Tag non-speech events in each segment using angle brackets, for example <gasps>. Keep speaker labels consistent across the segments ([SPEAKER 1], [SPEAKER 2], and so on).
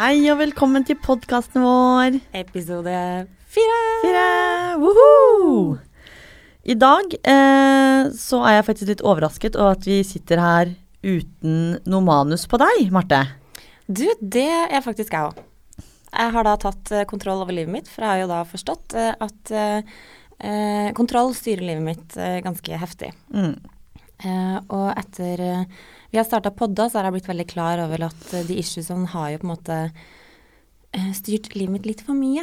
[SPEAKER 1] Hei og velkommen til podkasten vår.
[SPEAKER 2] Episode fire.
[SPEAKER 1] Fire! Woho! I dag eh, så er jeg faktisk litt overrasket over at vi sitter her uten noe manus på deg, Marte.
[SPEAKER 2] Du, det er faktisk jeg òg. Jeg har da tatt eh, kontroll over livet mitt, for jeg har jo da forstått eh, at eh, eh, kontroll styrer livet mitt eh, ganske heftig.
[SPEAKER 1] Mm.
[SPEAKER 2] Eh, og etter eh, vi har starta podda, så har jeg blitt veldig klar over at eh, de issuesene har jo på en måte eh, styrt livet mitt litt for mye.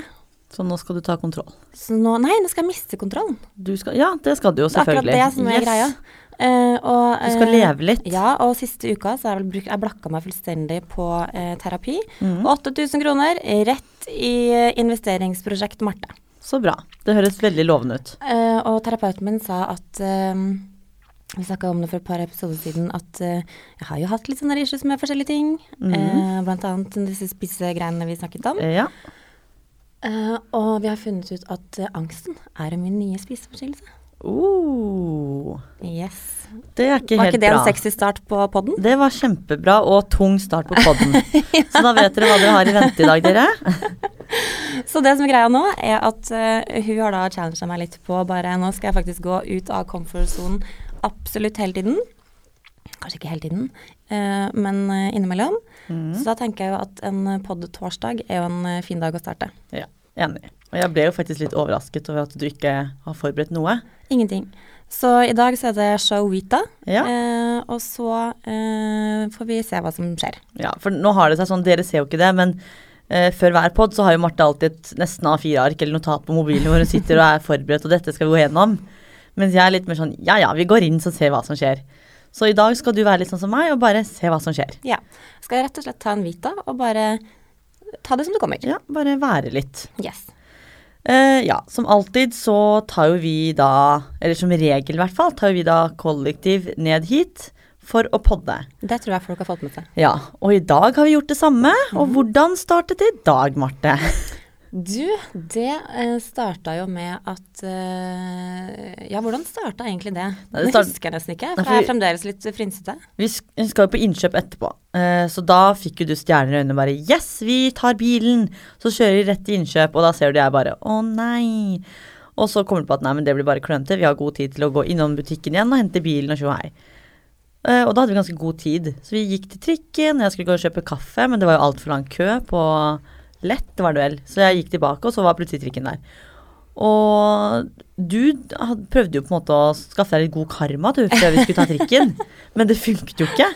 [SPEAKER 1] Så nå skal du ta kontroll.
[SPEAKER 2] Så nå Nei, nå skal jeg miste kontrollen.
[SPEAKER 1] Du skal, ja, det skal du jo
[SPEAKER 2] Det er akkurat
[SPEAKER 1] selvfølgelig.
[SPEAKER 2] det som er
[SPEAKER 1] Yes.
[SPEAKER 2] greia. Eh, og,
[SPEAKER 1] Du skal
[SPEAKER 2] eh,
[SPEAKER 1] leve litt.
[SPEAKER 2] Ja, og siste uka så har jeg, vel bruk, jeg blakka meg fullstendig på eh, terapi.
[SPEAKER 1] Mhm.
[SPEAKER 2] Og 8000 kroner rett i eh, investeringsprosjekt Marte.
[SPEAKER 1] Så bra. Det høres veldig lovende ut.
[SPEAKER 2] Eh, og terapeuten min sa at eh, Vi snakka om det for et par episoder siden at eh, jeg har jo hatt litt sånne issues med forskjellige ting. Eh, blant annet disse spissegreiene vi snakket om.
[SPEAKER 1] Eh, Mm. Ja.
[SPEAKER 2] Eh, og vi har funnet ut at eh, angsten er min nye spiseforstyrrelse.
[SPEAKER 1] Oh,
[SPEAKER 2] Yes.
[SPEAKER 1] det er ikke
[SPEAKER 2] Var
[SPEAKER 1] helt
[SPEAKER 2] ikke det
[SPEAKER 1] bra.
[SPEAKER 2] en sexy start på podden?
[SPEAKER 1] Det var kjempebra og tung start på
[SPEAKER 2] <laughs>
[SPEAKER 1] podden. Så da vet dere hva dere har i vente i dag, dere.
[SPEAKER 2] Så det som er greia nå, er at eh, hun har da challenged meg litt på bare nå skal jeg faktisk gå ut av comfort-sonen absolutt hele tiden. Kanskje ikke hele tiden, eh, men eh, innimellom.
[SPEAKER 1] Mm.
[SPEAKER 2] Så da tenker jeg jo at en pod-torsdag er jo en eh, fin dag å starte.
[SPEAKER 1] Ja, Enig. Og jeg ble jo faktisk litt overrasket over at du ikke har forberedt noe.
[SPEAKER 2] Ingenting. Så i dag så er det show Vita,
[SPEAKER 1] Ja.
[SPEAKER 2] eh, og så eh, får vi se hva som skjer.
[SPEAKER 1] Ja, for nå har det seg sånn, dere ser jo ikke det, men eh, før hver pod så har jo Marte alltid et nesten A4-ark eller notat på mobilen hvor hun sitter og er forberedt, og dette skal vi gå gjennom. Mens jeg er litt mer sånn ja ja, vi går inn så ser vi hva som skjer. Så i dag skal du være litt sånn som meg og bare se hva som skjer.
[SPEAKER 2] Ja. Skal jeg rett og slett ta en Vita og bare ta det som det kommer.
[SPEAKER 1] Ja, bare være litt.
[SPEAKER 2] Yes.
[SPEAKER 1] Eh, ja, som alltid så tar jo vi da, eller som regel i hvert fall, tar jo vi da kollektiv ned hit for å podde.
[SPEAKER 2] Det tror jeg folk har fått med seg.
[SPEAKER 1] Ja, og i dag har vi gjort det samme. Og hvordan startet i dag, Marte? <laughs>
[SPEAKER 2] Du, det eh, starta jo med at eh, Ja, hvordan starta egentlig det?
[SPEAKER 1] Nei, det
[SPEAKER 2] det
[SPEAKER 1] start-
[SPEAKER 2] husker jeg nesten ikke,
[SPEAKER 1] Nei,
[SPEAKER 2] for
[SPEAKER 1] for
[SPEAKER 2] jeg
[SPEAKER 1] vi-
[SPEAKER 2] er fremdeles litt frynsete.
[SPEAKER 1] Vi sk- skal jo på innkjøp etterpå, eh, så da fikk jo du stjerner i øynene bare Yes, vi tar bilen! Så kjører vi rett til innkjøp, og da ser du jeg bare Å nei! Og så kommer du på at nei, men det blir bare klønete, vi har god tid til å gå innom butikken igjen og hente bilen og tjo og hei. Eh, Og da hadde vi ganske god tid, så vi gikk til trikken, jeg skulle gå og kjøpe kaffe, men det var jo altfor lang kø på Lett var det vel, så jeg gikk tilbake, og så var plutselig trikken der. Og du had- prøvde jo på en måte å skaffe deg litt god karma du, før vi skulle ta trikken, men det funket jo ikke.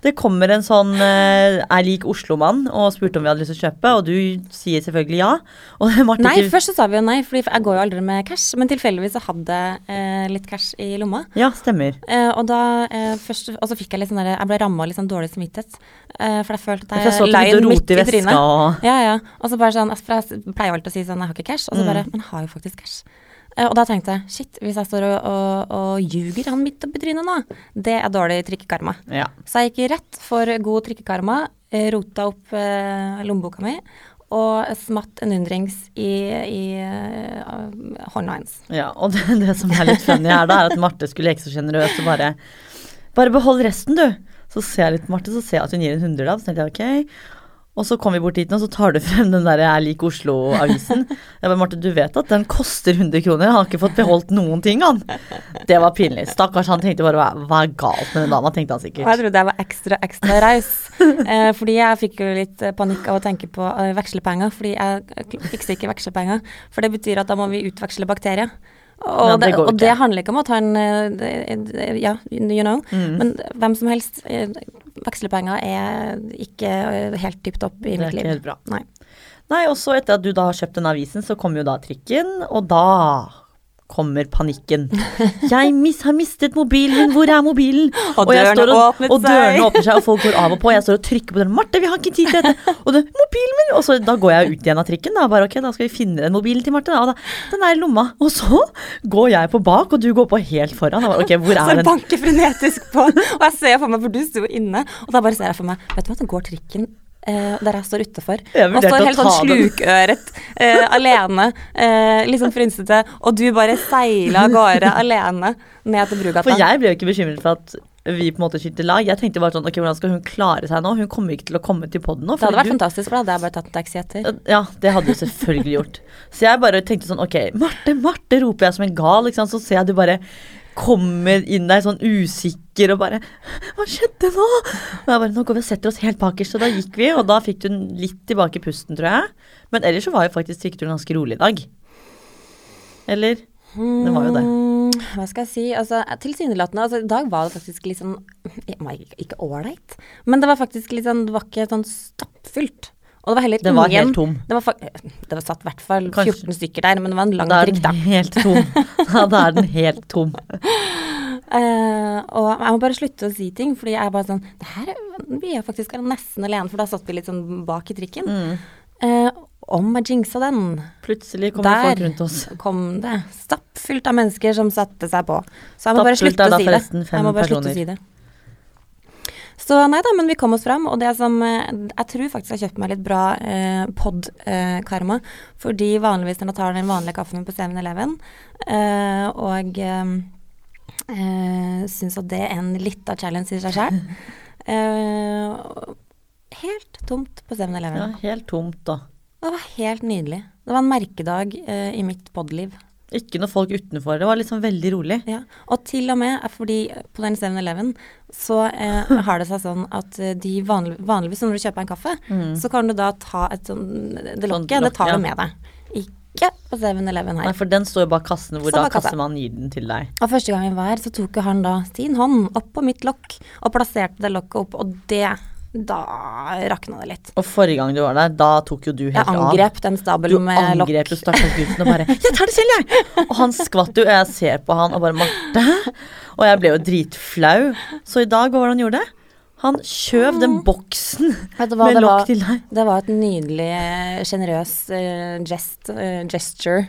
[SPEAKER 1] Det kommer en sånn eh, 'er lik Oslo-mann' og spurte om vi hadde lyst til å kjøpe, og du sier selvfølgelig ja. Og <laughs> Marte
[SPEAKER 2] Nei,
[SPEAKER 1] sier-
[SPEAKER 2] først så sa vi jo nei, for jeg går jo aldri med cash. Men tilfeldigvis så hadde jeg eh, litt cash i lomma.
[SPEAKER 1] Ja, stemmer.
[SPEAKER 2] Eh, og, da, eh, først, og så fikk jeg litt sånn der, jeg ble ramma av litt sånn dårlig samvittighet. Eh, for jeg følte
[SPEAKER 1] For jeg
[SPEAKER 2] at
[SPEAKER 1] så
[SPEAKER 2] jeg
[SPEAKER 1] at du
[SPEAKER 2] løy
[SPEAKER 1] begynte å
[SPEAKER 2] midt
[SPEAKER 1] rote i
[SPEAKER 2] i
[SPEAKER 1] veska
[SPEAKER 2] trynet.
[SPEAKER 1] og
[SPEAKER 2] Ja, ja. Og så bare sånn, for jeg pleier jo alltid å si sånn, jeg har ikke cash. Og så bare, men jeg har jo faktisk cash. Eh, Og da tenkte jeg, shit, hvis jeg står og, og, og ljuger han midt oppi trynet nå, det er dårlig trikkekarma.
[SPEAKER 1] ja.
[SPEAKER 2] Så jeg gikk rett for god trikkekarma, eh, rota opp eh, lommeboka mi og smatt en hundrings i, i eh, hånda hennes.
[SPEAKER 1] ja. Og det, det som er litt funny her, da, er at Marte skulle leke så sjenerøs og bare Bare behold resten, du. Så ser jeg litt på Marte, så ser jeg at hun gir en hundrelapp. Så tenkte jeg ok. Og så kommer vi bort dit nå, så tar du frem den der 'Jeg liker Oslo'-avisen. Jeg bare, Marte, du vet at den koster 100 kroner? Han har ikke fått beholdt noen ting, han. Det var pinlig. Stakkars, han tenkte bare hva, hva er galt med den dama, tenkte han
[SPEAKER 2] Og jeg
[SPEAKER 1] sikkert.
[SPEAKER 2] trodde jeg var ekstra, ekstra raus.
[SPEAKER 1] <laughs>
[SPEAKER 2] Eh, fordi jeg fikk jo litt eh, panikk av å tenke på eh, vekslepenger, fordi jeg kl- fikser ikke vekslepenger. For det betyr at da må vi utveksle bakterier. Og,
[SPEAKER 1] Ja, det
[SPEAKER 2] det,
[SPEAKER 1] går jo
[SPEAKER 2] og
[SPEAKER 1] ikke.
[SPEAKER 2] det handler ikke om at han eh, det- det- Ja, you know.
[SPEAKER 1] Mm.
[SPEAKER 2] Men hvem som helst. eh, Vekslepenger er ikke eh, helt tipp topp
[SPEAKER 1] Det
[SPEAKER 2] i
[SPEAKER 1] er
[SPEAKER 2] mitt liv.
[SPEAKER 1] ikke helt bra.
[SPEAKER 2] Nei.
[SPEAKER 1] Nei, og så etter at du da har kjøpt den avisen, så kommer jo da trikken, og da kommer
[SPEAKER 2] <laughs>
[SPEAKER 1] panikken. Jeg mis, har mistet mobilen min, hvor er mobilen?
[SPEAKER 2] Og
[SPEAKER 1] jeg
[SPEAKER 2] dørene
[SPEAKER 1] står
[SPEAKER 2] åpnet
[SPEAKER 1] og dørene
[SPEAKER 2] seg.
[SPEAKER 1] åpner seg, og folk går av og på. Jeg står og trykker på den. Marte, vi har ikke tid til dette. Og det, mobilen min! Og så da går jeg ut igjen av trikken. Da bare ok, da skal vi finne den mobilen til Marte. Da. Og da, den er i lomma. Og så går jeg på bak, og du går på helt foran. Da bare, ok, hvor er
[SPEAKER 2] Så Altså, jeg
[SPEAKER 1] den?
[SPEAKER 2] banker frenetisk på den, og jeg ser for meg, for du sto inne, og da bare ser jeg for meg Vet du hva, det går trikken eh, der jeg står utafor.
[SPEAKER 1] Jeg
[SPEAKER 2] Han
[SPEAKER 1] vurderte å
[SPEAKER 2] står helt sånn
[SPEAKER 1] ta den.
[SPEAKER 2] slukøret, eh, alene, eh, litt sånn frynsete, og du bare seiler av gårde alene ned til Brugata.
[SPEAKER 1] For jeg ble jo ikke bekymret for at vi på en måte skyter lag. Jeg tenkte bare sånn, ok, hvordan skal hun klare seg nå? Hun kommer ikke til å komme til podden nå.
[SPEAKER 2] Det hadde
[SPEAKER 1] fordi
[SPEAKER 2] vært fantastisk, for da hadde jeg bare tatt en taxi etter.
[SPEAKER 1] du- Ja, det hadde du selvfølgelig gjort. Så jeg bare tenkte sånn, ok, Marte, Marte, roper jeg som en gal, ikke sant? Så ser jeg du bare kommer inn der sånn usikker og bare, hva skjedde nå? Og jeg bare, nå går vi og setter oss helt bakerst, og da gikk vi, og da fikk hun litt tilbake pusten, tror jeg. Men ellers så var jo faktisk strikketuren ganske rolig i dag. Eller? Det var jo det.
[SPEAKER 2] Mm, Hva skal jeg si? Altså, tilsynelatende altså, I dag var det faktisk litt sånn jeg må ikke- Ikke ålreit, men det var faktisk litt sånn Det var ikke sånn stappfylt. Og det var heller
[SPEAKER 1] Den var
[SPEAKER 2] ingen
[SPEAKER 1] helt tom.
[SPEAKER 2] Det var, fak- det var satt i hvert fall
[SPEAKER 1] Kanskje-
[SPEAKER 2] 14 stykker der, men det var en lang
[SPEAKER 1] Da er
[SPEAKER 2] drikk,
[SPEAKER 1] den
[SPEAKER 2] da.
[SPEAKER 1] helt tom. Ja, da er den helt tom.
[SPEAKER 2] Eh, og jeg må bare slutte å si ting, fordi jeg er bare sånn Det her blir jeg faktisk nesten alene, for da satt vi litt sånn bak i trikken.
[SPEAKER 1] Mm.
[SPEAKER 2] Eh, om jeg jinxa den.
[SPEAKER 1] Plutselig kommer folk rundt oss.
[SPEAKER 2] Der kom det stappfullt av mennesker som satte seg på. Så jeg må bare
[SPEAKER 1] Stappfullt
[SPEAKER 2] slutte
[SPEAKER 1] er da
[SPEAKER 2] å si det.
[SPEAKER 1] forresten fem
[SPEAKER 2] Jeg må bare slutte
[SPEAKER 1] personer.
[SPEAKER 2] å si det. Så nei da, men vi kom oss fram, og det som eh, Jeg tror faktisk jeg har kjøpt meg litt bra eh, pod-karma. fordi vanligvis når jeg tar den vanlige kaffen min på 7-Eleven, eh, og eh, eh, syns at det er en lita challenge i
[SPEAKER 1] <laughs>
[SPEAKER 2] seg sjøl eh, Helt tomt på 7-Eleven.
[SPEAKER 1] Ja, helt tomt, da.
[SPEAKER 2] Det var helt nydelig. Det var en merkedag eh, i mitt podliv.
[SPEAKER 1] Ikke noe folk utenfor. Det var liksom veldig rolig.
[SPEAKER 2] Ja. Og til og med er fordi eh, på den 7-Eleven så eh, har det seg sånn at eh, de vanlig, vanligvis når du kjøper en kaffe, så kan du da ta et sånn
[SPEAKER 1] Mm.
[SPEAKER 2] Det
[SPEAKER 1] Sånn
[SPEAKER 2] lokket, det
[SPEAKER 1] lokk,
[SPEAKER 2] tar
[SPEAKER 1] ja.
[SPEAKER 2] du med deg. Ikke på 7-Eleven
[SPEAKER 1] Nei,
[SPEAKER 2] her.
[SPEAKER 1] for den står jo bak kassene, hvor
[SPEAKER 2] Står
[SPEAKER 1] da
[SPEAKER 2] bak kassa.
[SPEAKER 1] kassemannen gir den til deg.
[SPEAKER 2] Og første gang vi var her, så tok jo han da sin hånd opp på mitt lokk og plasserte det lokket opp, og det Da rakna det litt.
[SPEAKER 1] Og forrige gang du var der, da tok jo du helt
[SPEAKER 2] Jeg
[SPEAKER 1] av.
[SPEAKER 2] angrep den
[SPEAKER 1] Du
[SPEAKER 2] stabelen med lokk.
[SPEAKER 1] angrep jo stakkars gutten og bare 'Jeg tar det selv, jeg!' Og han skvatt jo, og jeg ser på han og bare 'Marte?' Og jeg ble jo dritflau. Så i dag, hva var det han gjorde? Han kjøv den boksen
[SPEAKER 2] Vet du hva,
[SPEAKER 1] med
[SPEAKER 2] det
[SPEAKER 1] lokk
[SPEAKER 2] var,
[SPEAKER 1] til deg.
[SPEAKER 2] det var et nydelig, eh, sjenerøs eh, gest, eh, gesture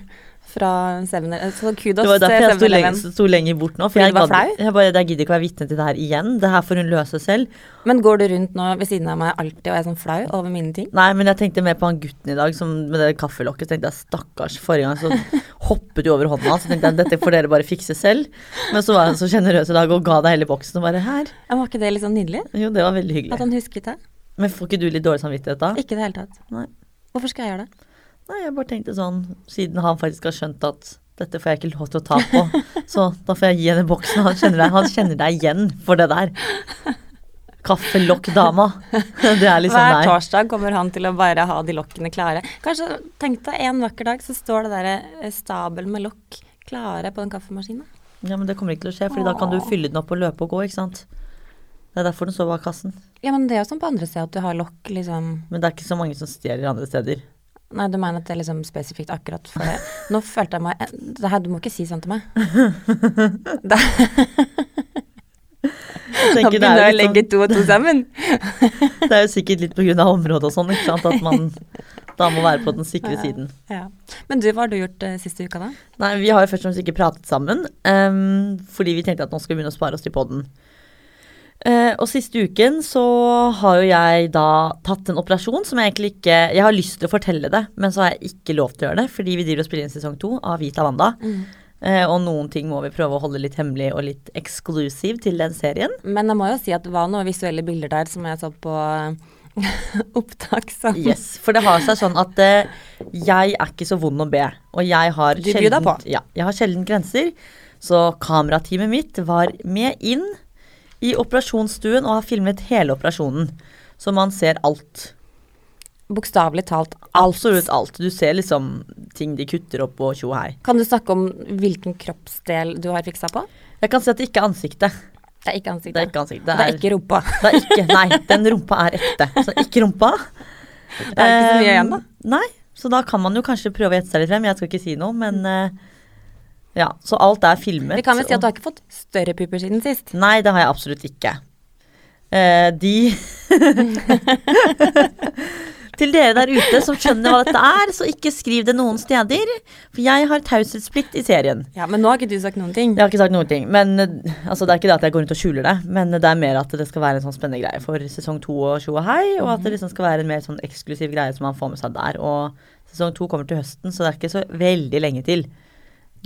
[SPEAKER 2] fra 7-Eleven. Så kudos
[SPEAKER 1] Det var
[SPEAKER 2] til
[SPEAKER 1] derfor jeg sto
[SPEAKER 2] 7-Eleven.
[SPEAKER 1] lenger, sto lenger bort nå. For
[SPEAKER 2] Fordi
[SPEAKER 1] jeg,
[SPEAKER 2] du var
[SPEAKER 1] gadd- jeg bare, jeg gidder ikke å være vitne til det her igjen. Det her får hun løse selv.
[SPEAKER 2] Men går du rundt nå ved siden av meg alltid og er sånn flau over mine ting?
[SPEAKER 1] Nei, men jeg tenkte mer på han gutten i dag som med det kaffelokket. Så tenkte jeg stakkars, forrige gang så hoppet du over hånda hans. Så tenkte jeg dette får dere bare fikse selv. Men så var han så sjenerøs i dag og ga deg hele boksen og bare her.
[SPEAKER 2] Ja, Var ikke det litt sånn nydelig?
[SPEAKER 1] Jo, det var veldig
[SPEAKER 2] At
[SPEAKER 1] hyggelig.
[SPEAKER 2] han husket det?
[SPEAKER 1] Men får ikke du litt dårlig samvittighet da?
[SPEAKER 2] Ikke i det hele tatt.
[SPEAKER 1] Nei.
[SPEAKER 2] Hvorfor skal jeg gjøre det?
[SPEAKER 1] Nei, jeg bare tenkte sånn, siden han faktisk har skjønt at dette får jeg ikke lov til å ta på, så da får jeg gi henne boksen. Han kjenner deg, han kjenner deg igjen for det der. Kaffelokk-dama. Det er liksom
[SPEAKER 2] Hver
[SPEAKER 1] deg.
[SPEAKER 2] torsdag kommer han til å bare ha de lokkene klare. Kanskje tenk deg en vakker dag så står det derre eh, stabel med lokk klare på den kaffemaskinen.
[SPEAKER 1] Ja, men det kommer ikke til å skje, for da kan du fylle den opp og løpe og gå, ikke sant. Det er derfor den står bak kassen.
[SPEAKER 2] Ja, men det er jo sånn på andre steder at du har lokk liksom
[SPEAKER 1] Men det er ikke så mange som stjeler andre steder.
[SPEAKER 2] Nei, du mener at det er liksom spesifikt akkurat for det. Nå følte jeg meg det her, Du må ikke si sånn til meg. Da,
[SPEAKER 1] Jeg
[SPEAKER 2] da
[SPEAKER 1] tenker det,
[SPEAKER 2] begynner jeg
[SPEAKER 1] er
[SPEAKER 2] å
[SPEAKER 1] jo
[SPEAKER 2] legge
[SPEAKER 1] litt
[SPEAKER 2] to og to sammen.
[SPEAKER 1] sånn, det er jo sikkert litt på grunn av området og sånn, ikke sant, at man da må være på den sikre siden.
[SPEAKER 2] <laughs> Ja. Men du, hva har du gjort eh, siste uka, da?
[SPEAKER 1] Nei, vi har jo først og fremst ikke pratet sammen, ehm, fordi vi tenkte at nå skal vi begynne å spare oss til podden. Eh, og siste uken så har jo jeg da tatt en operasjon som jeg egentlig ikke Jeg har lyst til å fortelle det, men så har jeg ikke lov til å gjøre det, fordi vi driver og spiller inn sesong to av Vita Wanda. Eh, og noen ting må vi prøve å holde litt hemmelig og litt eksklusiv til den serien.
[SPEAKER 2] Men jeg må jo si at det var noen visuelle bilder der som jeg så på eh, <laughs> opptak. Som
[SPEAKER 1] Yes, For det har seg sånn at eh, jeg er ikke så vond å be. Og jeg har,
[SPEAKER 2] Du byr deg
[SPEAKER 1] sjelden,
[SPEAKER 2] på.
[SPEAKER 1] ja, jeg har sjelden grenser. Så kamerateamet mitt var med inn i operasjonsstuen og har filmet hele operasjonen. Så man ser alt.
[SPEAKER 2] Bokstavelig talt alt.
[SPEAKER 1] Absolutt alt. Du ser liksom ting de kutter opp og tjo og hei.
[SPEAKER 2] Kan du snakke om hvilken kroppsdel du har fiksa på?
[SPEAKER 1] Jeg kan si at det ikke er ansiktet.
[SPEAKER 2] Det er
[SPEAKER 1] Det er
[SPEAKER 2] ikke ansiktet.
[SPEAKER 1] ikke ansiktet.
[SPEAKER 2] Det er, ikke rumpa.
[SPEAKER 1] Det er ikke, nei, den rumpa er ekte. Så ikke rumpa. Eh,
[SPEAKER 2] Det er ikke så mye igjen, da.
[SPEAKER 1] Nei, så da kan man jo kanskje prøve å gjette seg litt frem. Jeg skal ikke si noe, men eh, ja. Så alt er filmet.
[SPEAKER 2] Vi kan vel si at du
[SPEAKER 1] og-
[SPEAKER 2] har ikke fått større pupper siden sist.
[SPEAKER 1] Nei, det har jeg absolutt ikke. Eh, de <laughs> Til dere der ute som skjønner hva dette er, så ikke skriv det noen steder. For jeg har taushetsplikt i serien.
[SPEAKER 2] Ja, Men nå har ikke du sagt noen ting.
[SPEAKER 1] Jeg har ikke sagt noen ting. Men eh, altså, det er ikke det at jeg går rundt og skjuler det, men det er mer at det skal være en sånn spennende greie for sesong to og tjo og hei, og at det liksom skal være en mer sånn eksklusiv greie som man får med seg der. Og sesong to kommer til høsten, så det er ikke så veldig lenge til.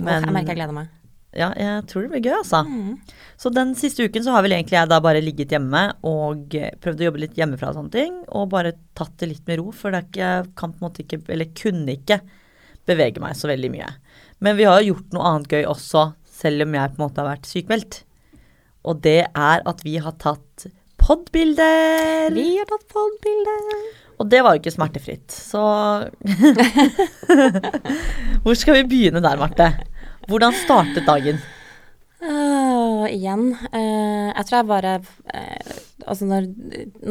[SPEAKER 2] Åh, jeg merker jeg gleder meg.
[SPEAKER 1] ja, jeg tror det blir gøy, altså.
[SPEAKER 2] Mm.
[SPEAKER 1] Så den siste uken så har vel egentlig jeg da bare ligget hjemme og eh, prøvd å jobbe litt hjemmefra og sånne ting, og bare tatt det litt med ro, for det er ikke, jeg kan på en måte ikke, eller kunne ikke, bevege meg så veldig mye. Men vi har jo gjort noe annet gøy også, selv om jeg på en måte har vært sykemeldt. Og det er at vi har tatt podbilder.
[SPEAKER 2] Vi har tatt podbilder.
[SPEAKER 1] Og det var jo ikke smertefritt, så <laughs> Hvor skal vi begynne der, Marte? Hvordan startet dagen?
[SPEAKER 2] Åh, Ah, igjen. eh, jeg tror jeg bare eh, Altså når,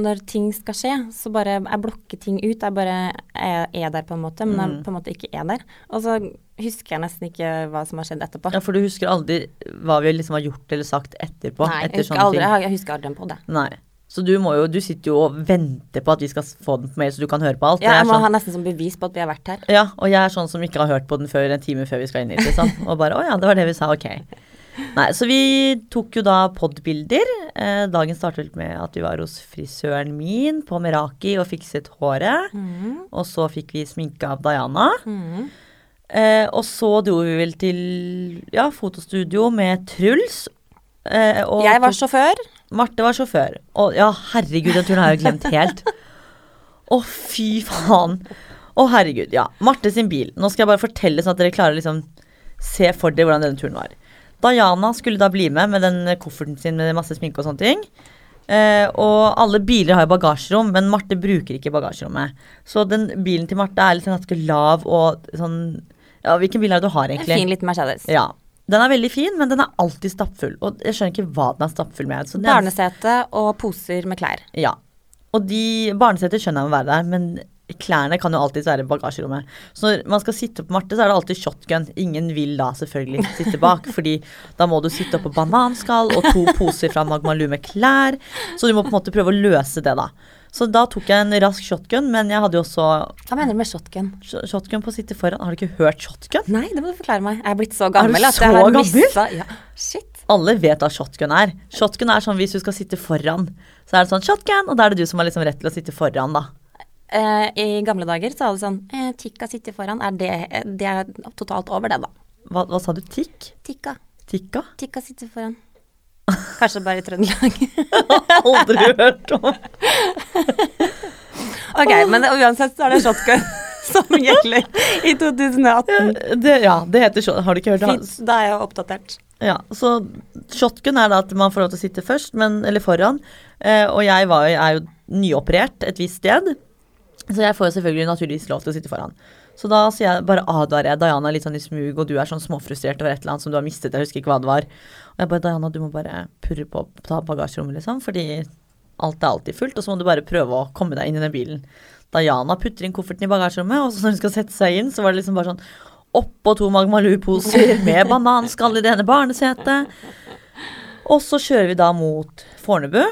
[SPEAKER 2] når ting skal skje, så bare Jeg blokker ting ut. Jeg bare er, er der på en måte, men
[SPEAKER 1] Mm.
[SPEAKER 2] jeg på en måte ikke er der. Og så husker jeg nesten ikke hva som har skjedd etterpå.
[SPEAKER 1] Ja, For du husker aldri hva vi liksom har gjort eller sagt etterpå?
[SPEAKER 2] Nei,
[SPEAKER 1] etter
[SPEAKER 2] jeg husker,
[SPEAKER 1] sånne
[SPEAKER 2] aldri,
[SPEAKER 1] ting.
[SPEAKER 2] jeg har- jeg husker aldri en podd. jeg.
[SPEAKER 1] Nei. Så du, må jo, du sitter jo og venter på at vi skal få den på mail, så du kan høre på alt.
[SPEAKER 2] Ja,
[SPEAKER 1] Og
[SPEAKER 2] jeg
[SPEAKER 1] er
[SPEAKER 2] må
[SPEAKER 1] sånn,
[SPEAKER 2] ha nesten som bevis på at vi har vært her.
[SPEAKER 1] ja, og jeg er sånn som ikke har hørt på den før en time før vi skal inn hit. Liksom. Og bare 'Å ja, det var det vi sa, ok'. Nei, så vi tok jo da podbilder. Eh, dagen startet vel med at vi var hos frisøren min på Meraki og fikset håret.
[SPEAKER 2] Mm.
[SPEAKER 1] Og så fikk vi sminke av Diana. Eh, og så dro vi vel til ja, fotostudio med Truls. Eh, og
[SPEAKER 2] Jeg var
[SPEAKER 1] tok-
[SPEAKER 2] sjåfør.
[SPEAKER 1] Marte var sjåfør. Og ja, herregud, den turen har jeg jo glemt helt. Å, fy faen. Å, herregud. Ja. Marte sin bil. Nå skal jeg bare fortelle sånn at dere klarer å liksom se for dere hvordan denne turen var. Diana skulle da bli med med den kofferten sin med masse sminke og sånne ting. Eh, og alle biler har jo bagasjerom, men Marte bruker ikke bagasjerommet. Så den bilen til Marte er liksom ganske lav og sånn Ja, hvilken bil er det du har,
[SPEAKER 2] En
[SPEAKER 1] egentlig?
[SPEAKER 2] fin liten Mercedes.
[SPEAKER 1] Ja. Den er veldig fin, men den er alltid stappfull. Og jeg skjønner ikke hva den er stappfull med. Så det er-
[SPEAKER 2] Barnesete og poser med klær.
[SPEAKER 1] ja. Og de barneseter skjønner jeg må være der, men klærne kan jo alltid være i bagasjerommet. Så når man skal sitte på Marte, så er det alltid shotgun. Ingen vil da selvfølgelig sitte bak, <laughs> fordi da må du sitte oppå bananskall og to poser fra Magmalou med klær. Så du må på en måte prøve å løse det, da. Så da tok jeg en rask shotgun, men jeg hadde jo også
[SPEAKER 2] Hva mener du med shotgun?
[SPEAKER 1] sh- shotgun på å sitte foran. Har du ikke hørt shotgun?
[SPEAKER 2] Nei, det må du forklare meg. Jeg er blitt så gammel at
[SPEAKER 1] så
[SPEAKER 2] jeg har
[SPEAKER 1] gammel?
[SPEAKER 2] mista ja. Shit.
[SPEAKER 1] Alle vet hva shotgun er. Shotgun er sånn hvis du skal sitte foran, så er det sånn shotgun, og da er det du som har liksom rett til å sitte foran, da.
[SPEAKER 2] Eh, I gamle dager så var det sånn eh, Tikka sitter foran. Er det, eh, det er totalt over det, da.
[SPEAKER 1] Hva, hva sa du? Tikk?
[SPEAKER 2] Tikka.
[SPEAKER 1] Tikka?
[SPEAKER 2] Tikka sitter foran. Kanskje bare i Trøndelag. <laughs>
[SPEAKER 1] Aldri <laughs> hørt om.
[SPEAKER 2] ok, men uansett så er det shotgun <laughs> som gjelder i 2018.
[SPEAKER 1] Det, ja, det heter shot- Har du ikke hørt det?
[SPEAKER 2] Fint, da er jeg oppdatert.
[SPEAKER 1] Ja, så shotgun er da at man får lov til å sitte først, men, eller foran. Eh, og jeg var, jo- er jo nyoperert et visst sted, så jeg får jo selvfølgelig naturligvis lov til å sitte foran. Så da sier jeg, bare advarer jeg Diana litt sånn i smug, og du er sånn småfrustrert over et eller annet som du har mistet, jeg husker ikke hva det var. Og jeg bare Diana, du må bare purre på ta bagasjerommet, liksom, fordi alt er alltid fullt, og så må du bare prøve å komme deg inn i den bilen. Diana putter inn kofferten i bagasjerommet, og så når hun skal sette seg inn, så var det liksom bare sånn oppå to
[SPEAKER 2] <laughs>
[SPEAKER 1] Magmalou-poser med bananskall i det ene barnesetet. Og så kjører vi da mot Fornebu,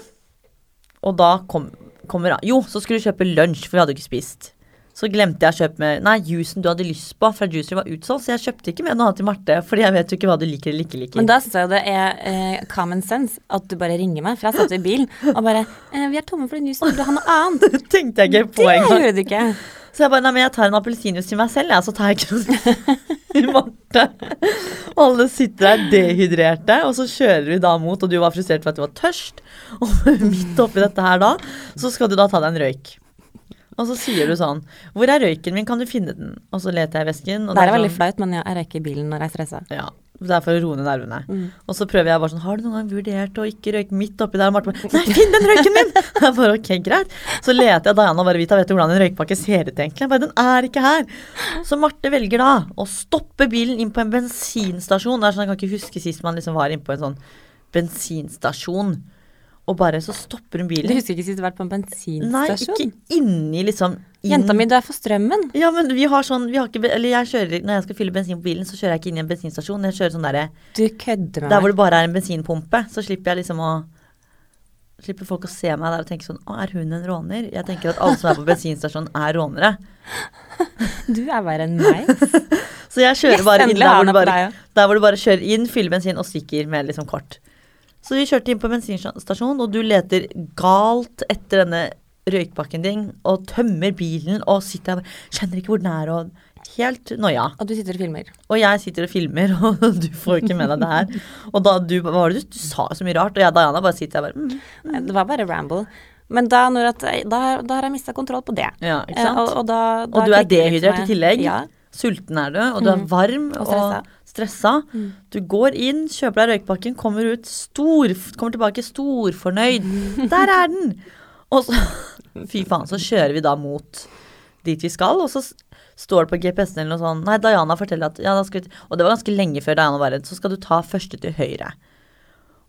[SPEAKER 1] og da kom, kommer Jo, så skulle vi kjøpe lunsj, for vi hadde jo ikke spist. Så glemte jeg å kjøpe med Nei, juicen du hadde lyst på fra Juicer var utsolgt, så jeg kjøpte ikke med noe annet til Marte, fordi jeg vet jo ikke hva du liker eller ikke liker.
[SPEAKER 2] Men da syns jeg jo det er eh, common sense at du bare ringer meg, for jeg satt i bilen og bare eh, 'Vi er tomme for den jusen, vil du ha noe annet?'
[SPEAKER 1] <laughs> det tenkte jeg ikke på
[SPEAKER 2] <laughs> Det
[SPEAKER 1] engang.
[SPEAKER 2] gjorde du ikke.
[SPEAKER 1] Så jeg bare, nei, men jeg tar en appelsinjuice til meg selv, jeg, så tar jeg ikke noe <laughs> til Marte. Og alle sitter der dehydrerte, og så kjører vi da mot, og du var frustrert for at du var tørst. Og <laughs> midt oppi dette her da, så skal du da ta deg en røyk. Og så sier du sånn, hvor er røyken min, kan du finne den? Og så leter jeg i vesken. Og
[SPEAKER 2] Det er veldig
[SPEAKER 1] sånn,
[SPEAKER 2] flaut, men ja, jeg røyker i bilen når jeg er stressa.
[SPEAKER 1] ja, det er for å roe ned nervene.
[SPEAKER 2] Mm.
[SPEAKER 1] Og så prøver jeg bare sånn Har du noen gang vurdert å ikke røyke midt oppi der? Og Marte bare Nei, finn den røyken min! <laughs> Jeg bare ok, greit. Så leter jeg Diana og bare Vita, vet du hvordan en røykpakke ser ut egentlig? Jeg bare den er ikke her. Så Marte velger da å stoppe bilen inn på en bensinstasjon. Det er sånn, Jeg kan ikke huske sist man liksom var inne på en sånn bensinstasjon. Og bare så stopper hun
[SPEAKER 2] Du
[SPEAKER 1] bilen.
[SPEAKER 2] husker ikke sist du har vært på en
[SPEAKER 1] Nei,
[SPEAKER 2] bensinstasjon?
[SPEAKER 1] ikke inni liksom inn
[SPEAKER 2] Jenta mi, du er for strømmen.
[SPEAKER 1] ja, men vi har sånn vi har ikke, be- Eller jeg kjører, når jeg skal fylle bensin på bilen, så kjører jeg ikke inn i en bensinstasjon. Jeg kjører sånn derre
[SPEAKER 2] Du kødder med
[SPEAKER 1] der hvor
[SPEAKER 2] meg.
[SPEAKER 1] det bare er en bensinpumpe, så slipper jeg liksom å Slipper folk å se meg der og tenke sånn Å, er hun en råner? Jeg tenker at alle som er på bensinstasjonen, er rånere.
[SPEAKER 2] Du er verre enn
[SPEAKER 1] <laughs>
[SPEAKER 2] meg.
[SPEAKER 1] Så jeg kjører
[SPEAKER 2] Yes,
[SPEAKER 1] bare inn
[SPEAKER 2] endelig
[SPEAKER 1] der
[SPEAKER 2] har
[SPEAKER 1] hvor, du
[SPEAKER 2] han opp
[SPEAKER 1] bare,
[SPEAKER 2] deg,
[SPEAKER 1] der hvor du bare kjører inn, fyller bensin og stikker med liksom kort. Så vi kjørte inn på bensinstasjonen, og du leter galt etter denne røykpakken din og tømmer bilen og sitter der og bare Skjønner ikke hvor den er og helt noia.
[SPEAKER 2] Og du sitter og filmer.
[SPEAKER 1] Og jeg sitter og filmer, <laughs> og du får jo ikke med deg det her. Og da du, hva var det du, du sa så mye rart, og jeg og Diana bare sitter der bare mm.
[SPEAKER 2] Nei, Eh, Det var bare ramble. Men da, når at, da, har- da har jeg mista kontroll på det.
[SPEAKER 1] Ja, ikke
[SPEAKER 2] Eh,
[SPEAKER 1] sant?
[SPEAKER 2] Og, og, da, da
[SPEAKER 1] Og du er
[SPEAKER 2] klikker det litt
[SPEAKER 1] dehydrert
[SPEAKER 2] for
[SPEAKER 1] i
[SPEAKER 2] meg.
[SPEAKER 1] tillegg.
[SPEAKER 2] Ja. Mm.
[SPEAKER 1] Sulten er du, og du er varm
[SPEAKER 2] Og Mm.
[SPEAKER 1] og
[SPEAKER 2] stressa.
[SPEAKER 1] stressa. Du går inn, kjøper deg røykpakken, kommer ut stor, kommer tilbake storfornøyd.
[SPEAKER 2] Mm.
[SPEAKER 1] Der er
[SPEAKER 2] <laughs>
[SPEAKER 1] den! Og så Fy faen, så kjører vi da mot dit vi skal, og så s- står det på GPS-en eller noe sånt Nei, Diana forteller at ja, da skal vi til-" Og det var ganske lenge før Diana var redd. Så skal du ta første til høyre.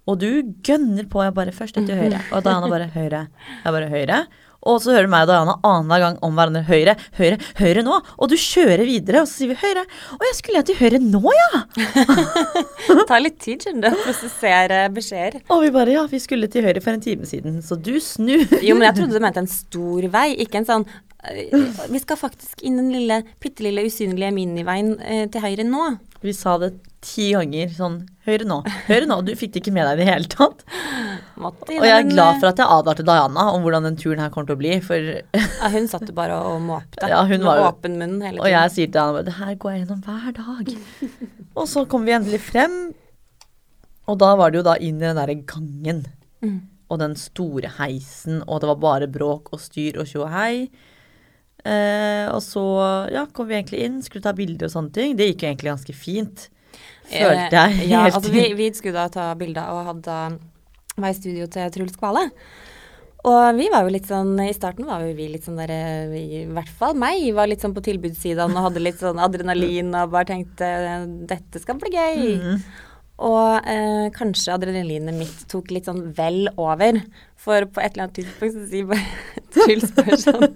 [SPEAKER 1] Og du gønner på, jeg bare første til høyre. Og Diana bare høyre. Jeg bare høyre. Og så hører du meg og Diana annenhver gang om hverandre. Høyre, høyre, høyre nå. Og du kjører videre, og så sier vi høyre. Å, jeg skulle jeg til høyre nå, ja?
[SPEAKER 2] Det tar litt tid skjønner du, <laughs> å prosessere beskjeder.
[SPEAKER 1] Og vi bare ja, vi skulle til høyre for en time siden, så du snur.
[SPEAKER 2] Jo, men jeg trodde du mente en stor vei, ikke en sånn eh, Vi skal faktisk inn den lille, bitte lille usynlige miniveien eh, til høyre nå.
[SPEAKER 1] Vi sa det ti ganger sånn høyre nå, høyre nå. Du fikk det ikke med deg i det hele tatt.
[SPEAKER 2] Måtte
[SPEAKER 1] Og jeg er
[SPEAKER 2] eh,
[SPEAKER 1] glad for at jeg advarte Diana om hvordan den turen her kommer til å bli, for
[SPEAKER 2] ja, Hun satt jo bare og måpte
[SPEAKER 1] Ja, hun
[SPEAKER 2] med
[SPEAKER 1] var jo-
[SPEAKER 2] åpen munn hele
[SPEAKER 1] Og
[SPEAKER 2] tiden.
[SPEAKER 1] jeg sier til han bare, det her går jeg gjennom hver dag.
[SPEAKER 2] <laughs>
[SPEAKER 1] og så kom vi endelig frem, og da var det jo da inn i den der gangen.
[SPEAKER 2] Mm.
[SPEAKER 1] Og den store heisen, og det var bare bråk og styr og tjo og hei. Eh, og så ja, kom vi egentlig inn, skulle ta bilder og sånne ting. Det gikk jo egentlig ganske fint. Følte jeg
[SPEAKER 2] Eh,
[SPEAKER 1] helt
[SPEAKER 2] ja, altså, vi,
[SPEAKER 1] inn.
[SPEAKER 2] vi skulle da ta bilder og hadde da var i studio til Truls Kvale. Og vi var jo litt sånn, i starten var jo vi litt sånn der, eh, vi, i hvert fall meg, var litt sånn på tilbudssiden og hadde litt sånn adrenalin og bare tenkte dette skal bli gøy.
[SPEAKER 1] Mm.
[SPEAKER 2] Og eh, kanskje adrenalinet mitt tok litt sånn vel over, for på et eller annet tidspunkt så sier bare <laughs> Truls bare sånn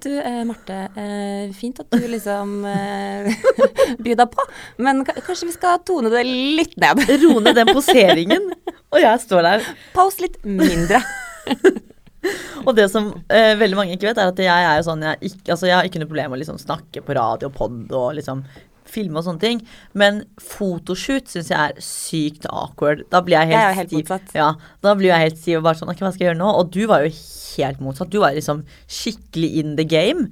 [SPEAKER 2] du, eh, Marte. Eh, fint at du liksom eh, <laughs> byr deg på, men ka- kanskje vi skal tone det litt ned.
[SPEAKER 1] Roe ned den
[SPEAKER 2] <laughs>
[SPEAKER 1] poseringen. og jeg står der.
[SPEAKER 2] Pause litt mindre.
[SPEAKER 1] Og det som eh, veldig mange ikke vet, er at jeg er jo sånn Jeg, er ikke, altså, jeg har ikke noe problem med å liksom, snakke på radio og pod og liksom filme og sånne ting. Men fotoshoot syns jeg er sykt awkward. Da blir jeg helt,
[SPEAKER 2] Jeg er jo helt
[SPEAKER 1] stiv.
[SPEAKER 2] motsatt.
[SPEAKER 1] Ja, da blir jeg helt stiv og bare sånn Ok, hva skal jeg gjøre nå? Og du var jo helt motsatt. Du var liksom skikkelig in the game.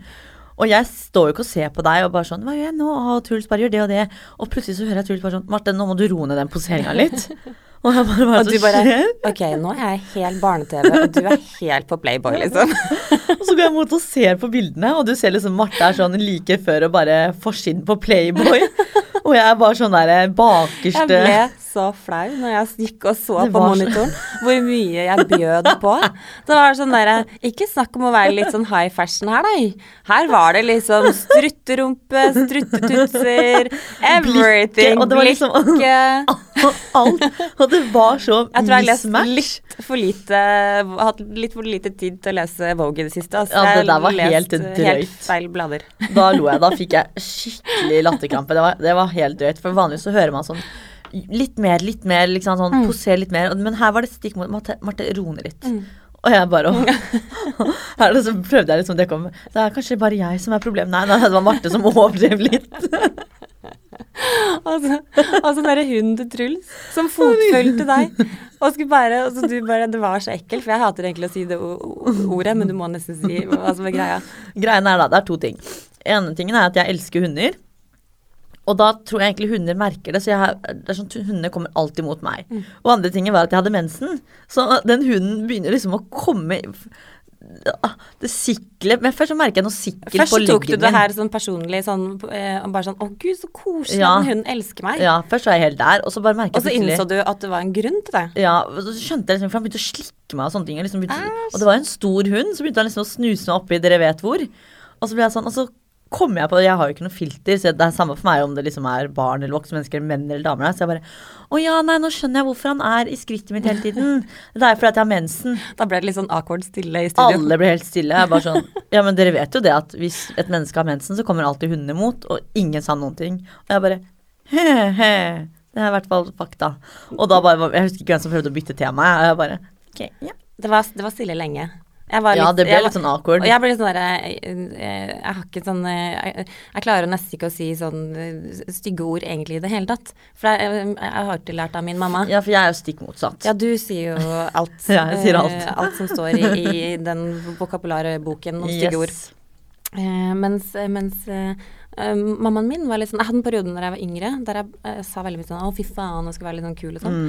[SPEAKER 1] Og jeg står jo ikke og ser på deg og bare sånn Hva gjør jeg nå? Å, Truls bare gjør det og det. Og plutselig så hører jeg Truls bare sånn Marte, nå må du roe ned den poseringa
[SPEAKER 2] <laughs>
[SPEAKER 1] litt. Og jeg bare Hva
[SPEAKER 2] Og
[SPEAKER 1] er
[SPEAKER 2] du
[SPEAKER 1] det som
[SPEAKER 2] bare
[SPEAKER 1] skjer?
[SPEAKER 2] Ok, nå er jeg helt barne-TV, og du er helt på Playboy, liksom.
[SPEAKER 1] Og så går jeg mot og ser på bildene, og du ser liksom Marte er sånn like før og bare forsiden på Playboy. Og jeg er bare sånn der bakerste
[SPEAKER 2] Jeg ble så flau når jeg gikk og så
[SPEAKER 1] Det
[SPEAKER 2] på
[SPEAKER 1] var så-
[SPEAKER 2] monitoren hvor mye jeg bjød på. Det var sånn derre Ikke snakk om å være litt sånn high fashion her, nei. Her var det liksom strutterumpe, struttetutser, everything.
[SPEAKER 1] Blikket, og det var liksom-
[SPEAKER 2] blikket.
[SPEAKER 1] Og <laughs> alt. Og det var så
[SPEAKER 2] Jeg tror jeg har lest
[SPEAKER 1] mismatch.
[SPEAKER 2] litt for lite Hatt litt for lite tid til å lese Vogue i det siste. Altså,
[SPEAKER 1] Ja, det
[SPEAKER 2] Jeg
[SPEAKER 1] der var
[SPEAKER 2] leste
[SPEAKER 1] helt drøyt.
[SPEAKER 2] Helt feil blader.
[SPEAKER 1] Da lo jeg. Da fikk jeg skikkelig latterkrampe. Det, var- det var helt drøyt. For vanligvis så hører man sånn litt mer, litt mer, liksom sånn
[SPEAKER 2] Mm.
[SPEAKER 1] poser litt mer. Men her var det stikk mot Marte, Marte ro ned litt. Og jeg bare
[SPEAKER 2] Mm.
[SPEAKER 1] <laughs> Her så prøvde jeg liksom å dekke om. Det er kanskje bare jeg som er problemet. Nei, nei, det var Marte som <laughs> overdrev litt.
[SPEAKER 2] Og så- og så Altså, den derre hunden til Truls som fotfulgte deg. Og skulle bare, og så du bare Det var så ekkelt, for jeg hater egentlig å si det o- o- ordet, men du må nesten si hva
[SPEAKER 1] <laughs>
[SPEAKER 2] som er greia.
[SPEAKER 1] Greien er da, det er to ting. ene tingen er at jeg elsker hunder. Og da tror jeg egentlig hunder merker det, så jeg, har- det er sånn, at hundene kommer alltid mot meg.
[SPEAKER 2] Mm.
[SPEAKER 1] Og andre tingen var at jeg hadde mensen, så den hunden begynner liksom å komme Ah, Det sikler Men først så merker jeg noe sikkel på
[SPEAKER 2] Først
[SPEAKER 1] leggen
[SPEAKER 2] tok du det
[SPEAKER 1] min.
[SPEAKER 2] her sånn personlig, sånn, eh, og bare sånn Å gud, så koselig
[SPEAKER 1] Ja.
[SPEAKER 2] at den hunden elsker meg.
[SPEAKER 1] Ja, først var jeg helt der, og så bare merker
[SPEAKER 2] Og så
[SPEAKER 1] jeg plutselig-
[SPEAKER 2] innså du at det var en grunn til det.
[SPEAKER 1] Ja, og så skjønte jeg liksom, for han begynte å slikke meg og sånne ting. Jeg Liksom begynte, og det var jo en stor hund, så begynte han liksom å snuse meg oppi dere vet hvor. Og så ble jeg sånn, og så kom jeg på, jeg har jo ikke noe filter, så det er samme for meg om det liksom er barn eller voksne mennesker, menn eller damer der. Så jeg bare, å ja, nei, nå skjønner jeg hvorfor han er i skrittet mitt hele tiden. Det er fordi at jeg har mensen.
[SPEAKER 2] Da ble det litt sånn awkward stille i studio.
[SPEAKER 1] Alle ble helt stille. Jeg bare sånn, ja, men dere vet jo det at hvis et menneske har mensen, så kommer alltid hundene mot, og ingen sa noen ting. Og jeg bare, <laughs> he, he, det er i hvert fall fakta. Og da bare, var- jeg husker ikke hvem som prøvde å bytte tema, og jeg bare, ok, ja.
[SPEAKER 2] Det var, det var stille lenge. Jeg var
[SPEAKER 1] Ja, det ble
[SPEAKER 2] jeg var-
[SPEAKER 1] litt sånn awkward.
[SPEAKER 2] Og jeg ble litt sånn derre jeg, jeg, har ikke sånn eh, jeg, jeg klarer nesten ikke å si sånn eh, stygge ord egentlig i det hele tatt. For jeg, jeg, jeg har ikke lært av min mamma. Ja.
[SPEAKER 1] Ja, for jeg er jo stikk motsatt.
[SPEAKER 2] du sier jo alt.
[SPEAKER 1] <laughs> Ja, jeg sier alt.
[SPEAKER 2] eh, alt som står i, i den vokabulare boken om stygge ord.
[SPEAKER 1] Yes.
[SPEAKER 2] Eh, mens mens eh, eh, mammaen min var litt sånn Jeg hadde en periode når jeg var yngre der jeg eh, sa veldig mye sånn Å, fy faen, jeg skulle være litt sånn kul og sånn.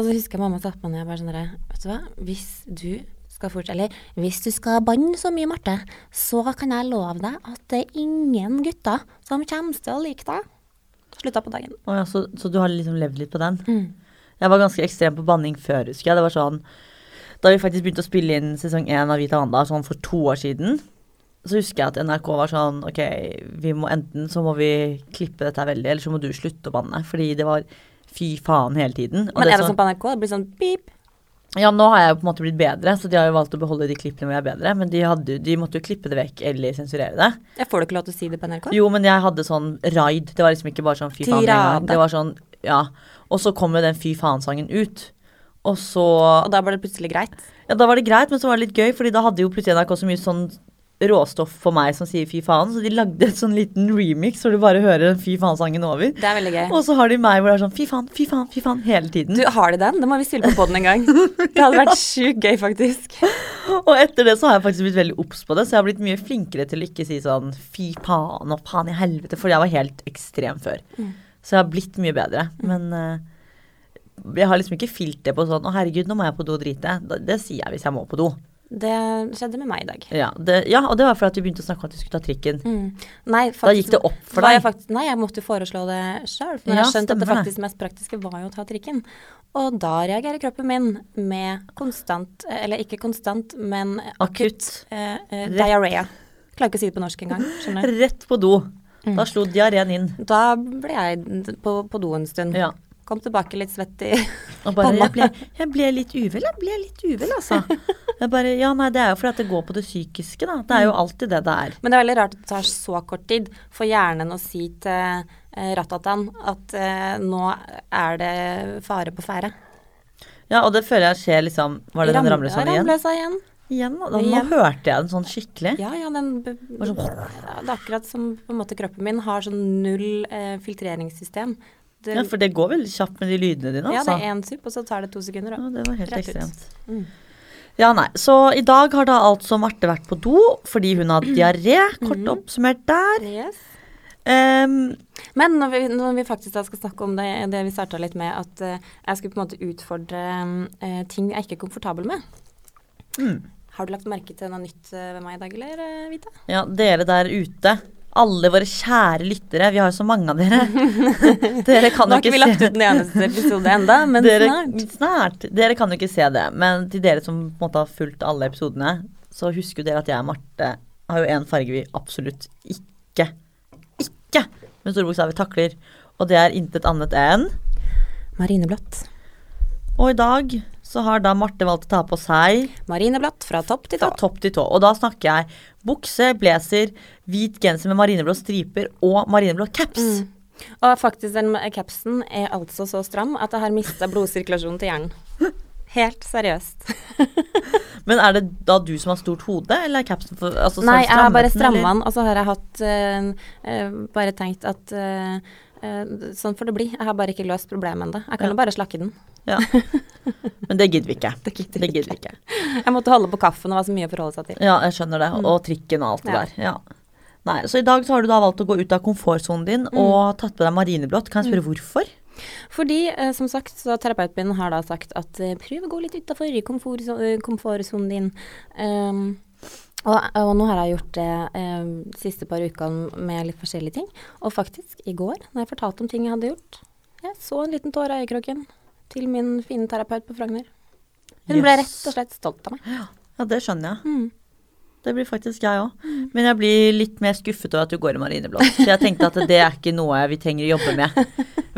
[SPEAKER 2] Og så husker jeg mamma satte meg ned og bare sånn derre Vet du hva, hvis du skal fortsette Eller hvis du skal banne så mye, Marte, så kan jeg love deg at det er ingen gutter som kommer til å like deg. Slutta på dagen.
[SPEAKER 1] Å ja, så, så du har liksom levd litt på den? Jeg var ganske ekstrem på banning før, husker jeg. Det var sånn Da vi faktisk begynte å spille inn sesong én av Vita Wanda sånn for to år siden, så husker jeg at NRK var sånn Ok, vi må enten så må vi klippe dette her veldig, eller så må du slutte å banne. Fordi det var fy faen hele tiden. Og
[SPEAKER 2] Men er det
[SPEAKER 1] sånn-
[SPEAKER 2] sånn på NRK? Det blir sånn pip.
[SPEAKER 1] Ja, nå har jeg jo på en måte blitt bedre, så de har jo valgt å beholde de klippene hvor jeg er bedre. Men de, hadde, jo- de måtte jo klippe det vekk eller sensurere det.
[SPEAKER 2] Jeg får du ikke lov til å si det på NRK?
[SPEAKER 1] Jo, men jeg hadde sånn raid. Det var liksom ikke bare sånn fy faen. en gang.
[SPEAKER 2] Tirade.
[SPEAKER 1] Det var sånn, ja. Og så kom jo den fy faen-sangen ut. Og så
[SPEAKER 2] Og da ble det plutselig greit.
[SPEAKER 1] Ja, da var det greit, men så var det litt gøy, fordi da hadde jo plutselig NRK så mye sånn råstoff for meg som sier fy faen, så de lagde en sånn liten remix hvor du bare hører den fy faen-sangen over.
[SPEAKER 2] Det er veldig gøy.
[SPEAKER 1] Og så har de meg hvor det er sånn fy faen, fy faen, fy faen hele tiden.
[SPEAKER 2] Du, har de den? Da må vi spille på poden en gang. Det hadde vært sjukt gøy, faktisk.
[SPEAKER 1] Og etter det så har jeg faktisk blitt veldig obs på det, så jeg har blitt mye flinkere til å ikke si sånn fy faen og faen i helvete, for jeg var helt ekstrem før.
[SPEAKER 2] Mm.
[SPEAKER 1] Så jeg har blitt mye bedre. Men eh, jeg har liksom ikke filter på sånn å herregud, nå må jeg på do og drite. Da- Det sier jeg hvis jeg må på do.
[SPEAKER 2] Det skjedde med meg i dag.
[SPEAKER 1] Ja, det, ja og det var fordi at vi begynte å snakke om at vi skulle ta trikken.
[SPEAKER 2] Mm. Nei, faktisk,
[SPEAKER 1] gikk det opp for
[SPEAKER 2] var
[SPEAKER 1] deg?
[SPEAKER 2] Jeg faktisk, nei, jeg måtte jo foreslå det sjøl. Men
[SPEAKER 1] Ja,
[SPEAKER 2] jeg skjønte at det
[SPEAKER 1] stemmer det.
[SPEAKER 2] faktisk mest praktiske var jo å ta trikken. Og da reagerer kroppen min med konstant, eller ikke konstant, men
[SPEAKER 1] Akutt.
[SPEAKER 2] eh, eh, diaré. Klarer ikke å si det på norsk engang. skjønner du? Mm.
[SPEAKER 1] Rett på do. <laughs> Da slo diareen inn.
[SPEAKER 2] Da ble jeg på, på do en stund.
[SPEAKER 1] Ja.
[SPEAKER 2] Kom tilbake litt svett i <laughs>
[SPEAKER 1] Og bare,
[SPEAKER 2] panna.
[SPEAKER 1] jeg ble, jeg ble litt uvel, jeg ble litt uvel, altså.
[SPEAKER 2] <laughs>
[SPEAKER 1] Jeg bare, ja, nei, det er jo fordi at det går på det psykiske, da. Det er
[SPEAKER 2] Mm.
[SPEAKER 1] jo alltid det det er.
[SPEAKER 2] Men det er veldig rart at det tar så kort tid for hjernen å si til eh, Ratatan at eh, nå er det fare på ferde.
[SPEAKER 1] Ja, og det føler jeg skjer liksom Var det den
[SPEAKER 2] Ramle-
[SPEAKER 1] ramlesangen igjen?
[SPEAKER 2] Ramløsa igjen.
[SPEAKER 1] Igjen, da. Nå
[SPEAKER 2] Igjen.
[SPEAKER 1] hørte jeg den sånn skikkelig.
[SPEAKER 2] Ja, ja, den b-
[SPEAKER 1] Bare sånn-
[SPEAKER 2] Ja, Det er akkurat som på en måte kroppen min har sånn null eh, filtreringssystem. Det,
[SPEAKER 1] Ja, for det går veldig kjapt med de lydene dine,
[SPEAKER 2] ja, det
[SPEAKER 1] altså.
[SPEAKER 2] er én supp, og så tar det to sekunder.
[SPEAKER 1] Ja,
[SPEAKER 2] Og.
[SPEAKER 1] det var helt
[SPEAKER 2] Rett ut.
[SPEAKER 1] ekstremt.
[SPEAKER 2] Mm.
[SPEAKER 1] Ja, nei. Så i dag har da altså Marte vært på do fordi hun har diaré.
[SPEAKER 2] Mhm.
[SPEAKER 1] Kort oppsummert der.
[SPEAKER 2] Yes.
[SPEAKER 1] Ehm,
[SPEAKER 2] Men når vi, når vi faktisk da skal snakke om det, det vi starta litt med, at eh, jeg skulle på en måte utfordre eh, ting jeg ikke er komfortabel med.
[SPEAKER 1] Mm.
[SPEAKER 2] Har du lagt merke til noe nytt eh, ved meg i dag, eller, eh, Vita?
[SPEAKER 1] ja, dere der ute. Alle våre kjære lyttere. Vi har jo så mange av
[SPEAKER 2] <laughs>
[SPEAKER 1] dere. dere kan jo
[SPEAKER 2] Nå har ikke vi
[SPEAKER 1] ikke
[SPEAKER 2] lagt
[SPEAKER 1] se
[SPEAKER 2] ut den eneste episode enda,
[SPEAKER 1] <laughs>
[SPEAKER 2] men
[SPEAKER 1] dere,
[SPEAKER 2] snart.
[SPEAKER 1] snart. Dere kan jo ikke se det, men til dere som på en måte har fulgt alle episodene, så husker jo dere at jeg og Marte har jo en farge vi absolutt ikke, ikke med store bokstaver takler, og det er intet annet enn
[SPEAKER 2] Marineblått.
[SPEAKER 1] Og i dag så har da Marte valgt å ta på seg
[SPEAKER 2] Marineblått fra topp til
[SPEAKER 1] fra
[SPEAKER 2] tå.
[SPEAKER 1] topp til tå, og da snakker jeg bukse, blazer, hvit genser med marineblå striper og marineblå caps.
[SPEAKER 2] Mm. Og faktisk den eh, capsen er altså så stram at jeg har mista blodsirkulasjonen til hjernen. Helt seriøst.
[SPEAKER 1] Men er det da du som har stort hode, eller er capsen for altså, så
[SPEAKER 2] Nei, jeg har
[SPEAKER 1] strammet
[SPEAKER 2] bare
[SPEAKER 1] den,
[SPEAKER 2] stramma
[SPEAKER 1] eller?
[SPEAKER 2] den, og så har jeg hatt eh, eh, Bare tenkt at eh, eh, sånn får det bli. Jeg har bare ikke løst problemet ennå. Jeg kan jo bare slakke den.
[SPEAKER 1] Ja. Men det gidder vi ikke.
[SPEAKER 2] Det gidder
[SPEAKER 1] Det
[SPEAKER 2] vi
[SPEAKER 1] gidder vi ikke.
[SPEAKER 2] Jeg måtte holde på kaffen, og det var så mye å forholde seg til.
[SPEAKER 1] Ja, jeg skjønner det. Og trikken og alt det
[SPEAKER 2] Mm. Ja.
[SPEAKER 1] der. Ja. Nei, så i dag så har du da valgt å gå ut av komfortsonen din
[SPEAKER 2] Mm.
[SPEAKER 1] og tatt på deg marineblått. Kan jeg spørre hvorfor?
[SPEAKER 2] Fordi, eh, som sagt, så terapeuten min har da sagt at eh, prøv å gå litt utafor eh, komfortsonen din. Ehm, og, og nå har jeg gjort det eh, siste par ukene med litt forskjellige ting. Og faktisk, i går, når jeg fortalte om ting jeg hadde gjort, jeg så en liten tåre i øyekroken til min fine terapeut på Frogner. Hun ble rett
[SPEAKER 1] Yes.
[SPEAKER 2] og slett stolt av meg.
[SPEAKER 1] Ja, det skjønner jeg.
[SPEAKER 2] Mm.
[SPEAKER 1] Det blir faktisk jeg òg. Men jeg blir litt mer skuffet over at du går i marineblått. For jeg tenkte at det er ikke noe vi trenger å jobbe med.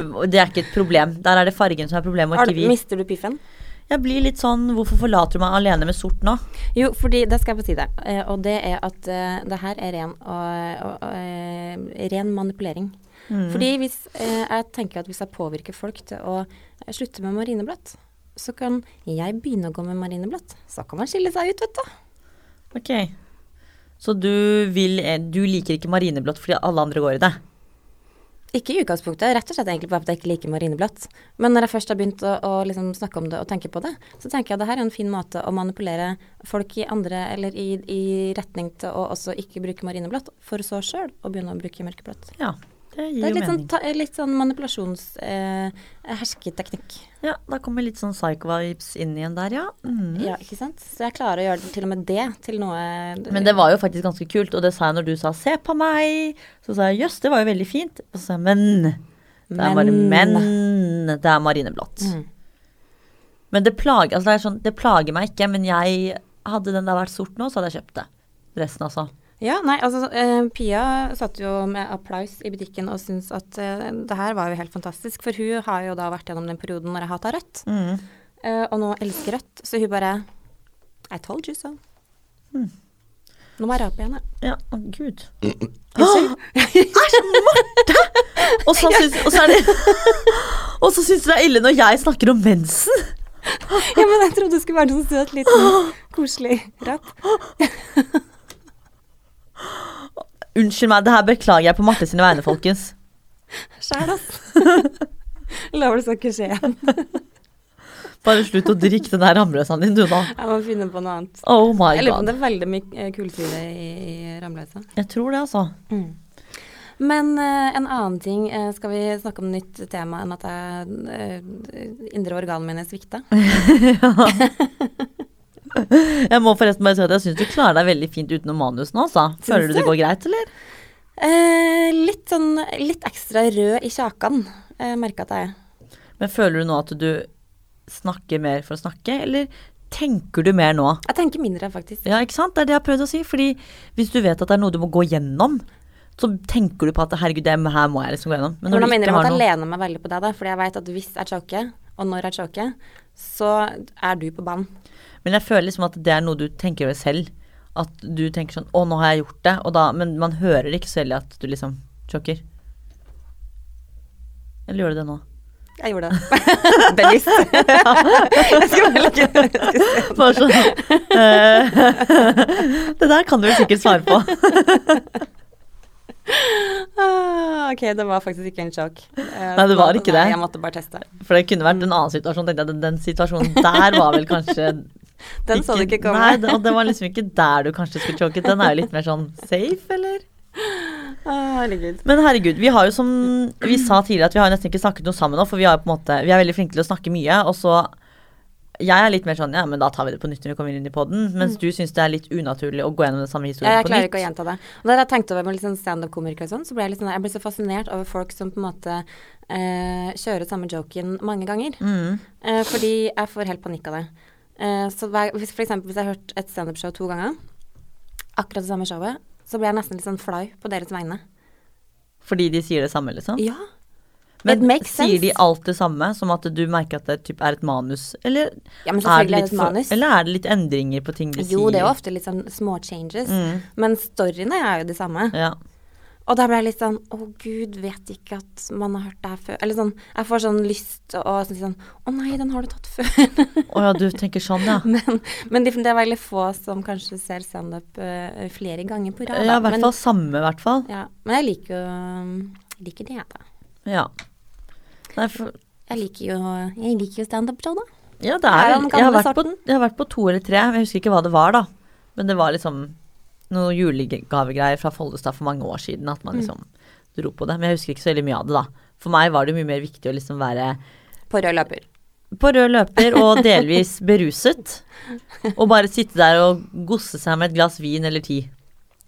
[SPEAKER 1] Og Det er ikke et problem. Der er det fargen som er problemet,
[SPEAKER 2] Har
[SPEAKER 1] og
[SPEAKER 2] du,
[SPEAKER 1] ikke vi.
[SPEAKER 2] mister du piffen?
[SPEAKER 1] Jeg blir litt sånn Hvorfor forlater du meg alene med sort nå?
[SPEAKER 2] Jo, fordi det skal jeg få si deg. eh, Og det er at eh, det her er ren, og, og, og, eh, ren manipulering.
[SPEAKER 1] Mm.
[SPEAKER 2] Fordi hvis, eh, jeg tenker at hvis jeg påvirker folk til å eh, slutte med marineblått, så kan jeg begynne å gå med marineblått. Så kan man skille seg ut, vet du.
[SPEAKER 1] Ok. eh, Så du vil Du liker ikke marineblått fordi alle andre går i det?
[SPEAKER 2] Ikke i utgangspunktet, rett og slett egentlig bare fordi jeg ikke liker marineblatt. Men når jeg først har begynt å, å liksom snakke om det og tenke på det, så tenker jeg at det her er en fin måte å manipulere folk i andre eller i, i retning til å også ikke bruke marineblatt, for så sjøl å begynne å bruke mørkeblått.
[SPEAKER 1] Ja, det
[SPEAKER 2] Det
[SPEAKER 1] gir
[SPEAKER 2] er
[SPEAKER 1] jo
[SPEAKER 2] litt sånn,
[SPEAKER 1] mening.
[SPEAKER 2] ta, litt sånn eh, manipulasjonshersketeknikk.
[SPEAKER 1] Ja, da kommer litt sånn psycho-vibes inn igjen der, ja. Mm.
[SPEAKER 2] ja, ikke sant? Så jeg klarer å gjøre det, til og med det til noe
[SPEAKER 1] Men det var jo faktisk ganske kult, og det sa jeg når du sa 'se på meg'. Så sa jeg 'jøss, det var jo veldig fint'. Og så sa jeg 'men'. Det er bare 'men'. Det er marineblått.
[SPEAKER 2] Mm.
[SPEAKER 1] Men det plager, altså det, er sånn, det plager meg ikke, men jeg hadde den der vært sort nå, så hadde jeg kjøpt det. Resten, altså.
[SPEAKER 2] Ja, nei, altså eh, Pia satt jo med applaus i butikken og syntes at eh, det her var jo helt fantastisk. For hun har jo da vært gjennom den perioden når jeg hata rødt,
[SPEAKER 1] Mm.
[SPEAKER 2] eh, og nå elsker rødt. Så hun bare I told you so.
[SPEAKER 1] Mm.
[SPEAKER 2] Nå må jeg rape igjen, jeg.
[SPEAKER 1] Ja, å gud. <gasps> Æsj, Marte! Og så syns og så er det <laughs> Og så syns du det er ille når jeg snakker om mensen.
[SPEAKER 2] <laughs> Ja, men jeg trodde det skulle være noe søt,
[SPEAKER 1] <gasps>
[SPEAKER 2] liten, koselig rap.
[SPEAKER 1] Unnskyld meg, det her beklager jeg på Marte sine vegne, folkens.
[SPEAKER 2] Sjæl, ass.
[SPEAKER 1] <laughs>
[SPEAKER 2] Lover det skal ikke skje igjen.
[SPEAKER 1] Bare slutt å drikke den der ramløsaen din, du, da.
[SPEAKER 2] Jeg må finne på noe annet.
[SPEAKER 1] Oh my
[SPEAKER 2] Jeg lurer på
[SPEAKER 1] god.
[SPEAKER 2] om det er veldig mye eh, kullsyre i, i ramløsa.
[SPEAKER 1] Jeg tror det, altså.
[SPEAKER 2] Men eh, en annen ting, eh, skal vi snakke om nytt tema enn at jeg, eh, indre organene mine svikta?
[SPEAKER 1] Jeg må forresten bare si at jeg syns du klarer deg veldig fint utenom manus nå, altså. Føler du det går greit, eller?
[SPEAKER 2] Eh, litt sånn litt ekstra rød i kjakan, eh, merka jeg.
[SPEAKER 1] Men føler du nå at du snakker mer for å snakke, eller tenker du mer nå?
[SPEAKER 2] Jeg tenker mindre, faktisk.
[SPEAKER 1] Ja, ikke sant? Det er det jeg har prøvd å si. Fordi hvis du vet at det er noe du må gå gjennom, så tenker du på at herregud, det her må jeg liksom gå gjennom. Men
[SPEAKER 2] Men
[SPEAKER 1] når
[SPEAKER 2] jeg
[SPEAKER 1] du
[SPEAKER 2] mener
[SPEAKER 1] ikke
[SPEAKER 2] at
[SPEAKER 1] har
[SPEAKER 2] jeg
[SPEAKER 1] noe
[SPEAKER 2] lener meg veldig på deg, da, fordi jeg veit at hvis jeg choker, og når jeg choker, så er du på banen.
[SPEAKER 1] Men jeg føler liksom at det er noe du tenker over selv. At du tenker sånn 'Å, nå har jeg gjort det', og da Men man hører ikke så veldig at du liksom chokker. Eller gjør du det nå? <laughs>
[SPEAKER 2] Jeg gjorde det. Bevisst. <laughs> jeg skal bare legge
[SPEAKER 1] Bare <laughs> sånn eh, Det der kan du vel sikkert svare på.
[SPEAKER 2] ah, Ok, det var faktisk ikke en sjokk.
[SPEAKER 1] Nei, det var ikke det.
[SPEAKER 2] Jeg måtte bare teste.
[SPEAKER 1] For det kunne vært en annen situasjon. Tenkte jeg, den, den situasjonen der var vel kanskje
[SPEAKER 2] Den så du ikke komme.
[SPEAKER 1] Nei, det, og det var liksom ikke der du kanskje skulle choket. Den er jo litt mer sånn safe, eller?
[SPEAKER 2] Ah, herregud.
[SPEAKER 1] Men herregud, vi har jo som vi sa tidligere, at vi har nesten ikke snakket noe sammen nå, for vi, har jo på en måte, vi er veldig flinke til å snakke mye, og så jeg er litt mer sånn ja, men da tar vi det på nytt når vi kommer inn i poden. Mens du syns det er litt unaturlig å gå gjennom den samme
[SPEAKER 2] Mm.
[SPEAKER 1] historien
[SPEAKER 2] Ja, jeg
[SPEAKER 1] på
[SPEAKER 2] klarer
[SPEAKER 1] nytt.
[SPEAKER 2] ikke å gjenta det. Og da har jeg tenkt over med litt sånn standup-komikere og sånn, så ble jeg litt sånn der- Jeg ble så fascinert over folk som på en måte eh, kjører samme joken mange ganger.
[SPEAKER 1] Mm.
[SPEAKER 2] Eh, fordi jeg får helt panikk av det. Eh, så hver, hvis, for eksempel hvis jeg har hørt et standup-show to ganger, akkurat det samme showet, så blir jeg nesten litt sånn flau på deres vegne.
[SPEAKER 1] Fordi de sier det samme, liksom?
[SPEAKER 2] Ja.
[SPEAKER 1] Men
[SPEAKER 2] It makes
[SPEAKER 1] sier de
[SPEAKER 2] sense.
[SPEAKER 1] alt det samme, som at du merker at det typ er et manus? Eller,
[SPEAKER 2] Ja, men
[SPEAKER 1] er, det
[SPEAKER 2] selvfølgelig er
[SPEAKER 1] litt
[SPEAKER 2] det et manus.
[SPEAKER 1] For, eller er det litt endringer på ting de sier?
[SPEAKER 2] Jo, det er jo ofte litt sånn små changes.
[SPEAKER 1] Mm.
[SPEAKER 2] Men storyene er jo de samme.
[SPEAKER 1] Ja.
[SPEAKER 2] Og da ble jeg litt sånn Å, gud, vet ikke at man har hørt det her før. Eller sånn Jeg får sånn lyst og sånn, sånn Å nei, den har du tatt før. <laughs>
[SPEAKER 1] Å ja, du tenker sånn, ja.
[SPEAKER 2] men men de, det er veldig få som kanskje ser standup eh, flere ganger på rad.
[SPEAKER 1] Ja, i
[SPEAKER 2] da.
[SPEAKER 1] hvert
[SPEAKER 2] men,
[SPEAKER 1] fall samme, i hvert fall.
[SPEAKER 2] ja, men jeg liker jo jeg liker det, jeg, da.
[SPEAKER 1] Ja. Nei, for,
[SPEAKER 2] Jeg liker jo, jeg liker jo standup-show, da.
[SPEAKER 1] ja, det
[SPEAKER 2] Er
[SPEAKER 1] er,
[SPEAKER 2] han
[SPEAKER 1] jeg, har
[SPEAKER 2] gamle
[SPEAKER 1] vært på,
[SPEAKER 2] sorten?
[SPEAKER 1] jeg har vært på to eller tre, jeg husker ikke hva det var, da. Men det var liksom noen julegavegreier fra Follestad for mange år siden, at
[SPEAKER 2] Mm.
[SPEAKER 1] man liksom dro på det. Men jeg husker ikke så veldig mye av det, da. For meg var det mye mer viktig å liksom være
[SPEAKER 2] På rød løper.
[SPEAKER 1] på rød løper
[SPEAKER 2] <laughs>
[SPEAKER 1] og delvis beruset. Og bare sitte der og gosse seg med et glass vin eller ti.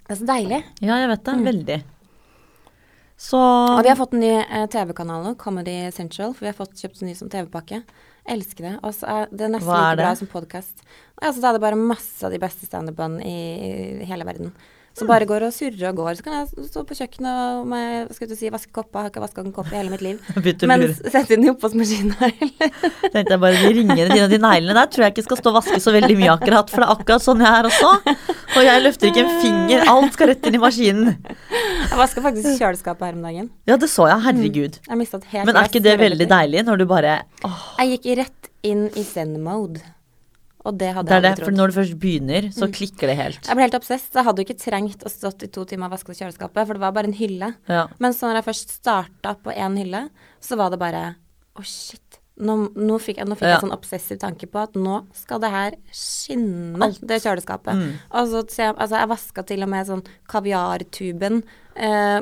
[SPEAKER 2] Det er så deilig.
[SPEAKER 1] Ja, jeg vet det. Veldig. Så
[SPEAKER 2] Og Mm. vi har fått en ny eh, TV-kanal nå, Comedy Central. For vi har fått kjøpt en ny som TV-pakke. Jeg Elsker det. Og så er det nesten
[SPEAKER 1] Hva er
[SPEAKER 2] like bra
[SPEAKER 1] det?
[SPEAKER 2] som podkast. Altså, da er det bare masse av de beste standupene i hele verden. Så bare går og surrer og går. Så kan jeg stå på kjøkkenet og med, skal du si, vaske kopper. Har ikke vaska en kopp i hele mitt
[SPEAKER 1] <laughs>
[SPEAKER 2] liv.
[SPEAKER 1] Bytte
[SPEAKER 2] Men
[SPEAKER 1] lure.
[SPEAKER 2] sette inn i oppvaskmaskinen eller
[SPEAKER 1] tenkte jeg bare de ringene dine og de neglene der tror jeg ikke skal stå og vaske så veldig mye akkurat, for det er akkurat sånn jeg er også. Og jeg løfter ikke en finger. Alt skal rett inn i maskinen.
[SPEAKER 2] Jeg vaska faktisk kjøleskapet her om dagen.
[SPEAKER 1] Ja, det så jeg. Herregud.
[SPEAKER 2] Jeg mistet helt
[SPEAKER 1] Men er
[SPEAKER 2] glass
[SPEAKER 1] ikke det
[SPEAKER 2] med
[SPEAKER 1] veldig
[SPEAKER 2] rødbeter.
[SPEAKER 1] deilig når du bare åh,
[SPEAKER 2] Jeg gikk rett inn i zen-mode. Og og det hadde
[SPEAKER 1] Det er det,
[SPEAKER 2] jeg aldri
[SPEAKER 1] for
[SPEAKER 2] trodd.
[SPEAKER 1] når du først begynner, så klikker det helt.
[SPEAKER 2] Mm. Jeg ble helt obsess. Jeg hadde jo ikke trengt å stått i to timer og vaske kjøleskapet, for det var bare en hylle.
[SPEAKER 1] Ja.
[SPEAKER 2] Men så når jeg først starta på én hylle, så var det bare Å, shit. Nå, nå fikk jeg, nå fikk jeg
[SPEAKER 1] Ja.
[SPEAKER 2] en sånn obsessiv tanke på at nå skal det her skinne,
[SPEAKER 1] Alt. Mm.
[SPEAKER 2] det kjøleskapet. Og så ser jeg, altså jeg vaska til og med sånn kaviartuben eh,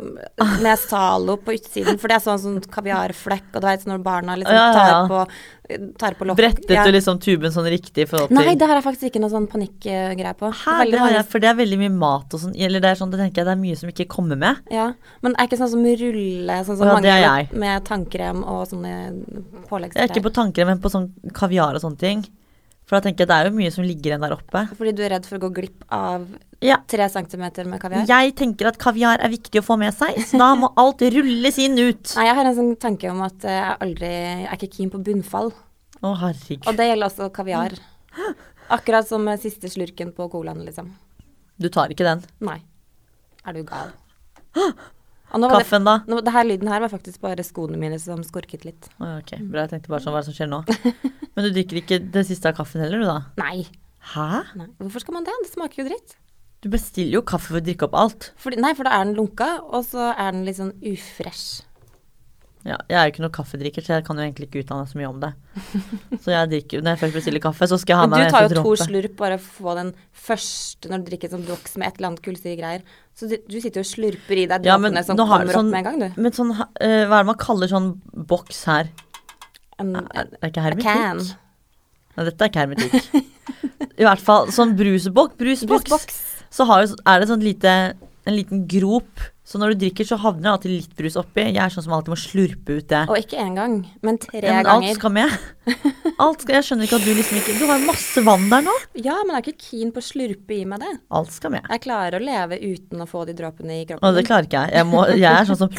[SPEAKER 2] med Zalo på utsiden, for det er sånn, sånn kaviarflekk, og du vet sånn når barna liksom
[SPEAKER 1] Ja, ja, ja.
[SPEAKER 2] tar på, tar på lokk.
[SPEAKER 1] Brettet
[SPEAKER 2] Ja.
[SPEAKER 1] du liksom tuben sånn riktig i forhold til
[SPEAKER 2] Nei, det har jeg faktisk ikke noe sånn panikkgreie på.
[SPEAKER 1] Hæ,
[SPEAKER 2] Veldig
[SPEAKER 1] det har
[SPEAKER 2] mange-
[SPEAKER 1] jeg, for det er veldig mye mat og sånn. Eller det er sånn, det tenker jeg det er mye som ikke kommer med.
[SPEAKER 2] Ja, men er ikke sånn som rulle, sånn
[SPEAKER 1] Å
[SPEAKER 2] som
[SPEAKER 1] ja, det
[SPEAKER 2] mange
[SPEAKER 1] er
[SPEAKER 2] med,
[SPEAKER 1] jeg.
[SPEAKER 2] med tannkrem og sånne
[SPEAKER 1] Jeg er ikke
[SPEAKER 2] påleggsgreier?
[SPEAKER 1] på tanker, men på sånn kaviar og sånne ting. For da tenker jeg det er jo mye som ligger igjen der oppe.
[SPEAKER 2] Fordi du er redd for å gå glipp av
[SPEAKER 1] Ja.
[SPEAKER 2] tre centimeter med kaviar?
[SPEAKER 1] Jeg tenker at kaviar er viktig å få med seg, så da må alt rulles inn ut.
[SPEAKER 2] Nei, jeg har en sånn tanke om at eh, jeg aldri jeg er ikke keen på bunnfall.
[SPEAKER 1] Å,
[SPEAKER 2] Og
[SPEAKER 1] herregud.
[SPEAKER 2] det gjelder også kaviar.
[SPEAKER 1] <gasps>
[SPEAKER 2] Akkurat som med siste slurken på colaen, liksom.
[SPEAKER 1] Du tar ikke den.
[SPEAKER 2] Nei. Er
[SPEAKER 1] <gasps>
[SPEAKER 2] du gal? Og nå var det,
[SPEAKER 1] Kaffen, da?
[SPEAKER 2] nå, det her lyden her var faktisk bare skoene mine som skorket litt.
[SPEAKER 1] Å, ja, ok, bra. Jeg tenkte bare sånn, hva er det som skjer nå?
[SPEAKER 2] <laughs>
[SPEAKER 1] Men du drikker ikke det siste av kaffen heller, du da?
[SPEAKER 2] Nei.
[SPEAKER 1] Hæ?
[SPEAKER 2] Nei. Hvorfor skal man det? Det smaker jo dritt.
[SPEAKER 1] Du bestiller jo kaffe for å drikke opp alt.
[SPEAKER 2] Fordi, nei, for da er den lunka, og så er den litt sånn ufresh.
[SPEAKER 1] Ja, jeg er jo ikke noen kaffedrikker, så jeg kan jo egentlig ikke utdanne så mye om det.
[SPEAKER 2] <laughs>
[SPEAKER 1] Så jeg drikker, når jeg først bestiller kaffe, så skal jeg ha
[SPEAKER 2] Men
[SPEAKER 1] med
[SPEAKER 2] du tar
[SPEAKER 1] en
[SPEAKER 2] jo to
[SPEAKER 1] dråpe.
[SPEAKER 2] slurp bare for å få den første når du drikker et sånt drops med et eller annet kullsyregreier. Så du, du sitter jo og slurper i deg
[SPEAKER 1] Ja, men
[SPEAKER 2] dråpene som
[SPEAKER 1] nå har
[SPEAKER 2] kommer
[SPEAKER 1] du sånn-
[SPEAKER 2] opp med en gang, du.
[SPEAKER 1] Men sånn, eh, hva er det man kaller sånn boks her?
[SPEAKER 2] En,
[SPEAKER 1] Er
[SPEAKER 2] en,
[SPEAKER 1] det ikke
[SPEAKER 2] a can.
[SPEAKER 1] hermetikk? Nei, dette er ikke hermetikk.
[SPEAKER 2] <laughs>
[SPEAKER 1] I hvert fall sånn bruseboks, brusboks,
[SPEAKER 2] Brusboks.
[SPEAKER 1] så har, jo- er det sånn lite, en liten grop. Så når du drikker, så havner det alltid litt brus oppi. Jeg er sånn som alltid må slurpe ut det.
[SPEAKER 2] Og ikke én gang, men tre
[SPEAKER 1] Ja, men alt
[SPEAKER 2] ganger.
[SPEAKER 1] skal
[SPEAKER 2] <laughs>
[SPEAKER 1] med. Alt skal, jeg skjønner ikke at du liksom ikke Du har jo masse vann der nå.
[SPEAKER 2] Ja, men jeg er ikke keen på å slurpe i meg det.
[SPEAKER 1] Alt skal med.
[SPEAKER 2] Jeg klarer å leve uten å få de dråpene i
[SPEAKER 1] Og
[SPEAKER 2] kroppen.
[SPEAKER 1] det klarer ikke jeg. Jeg, må, jeg er sånn som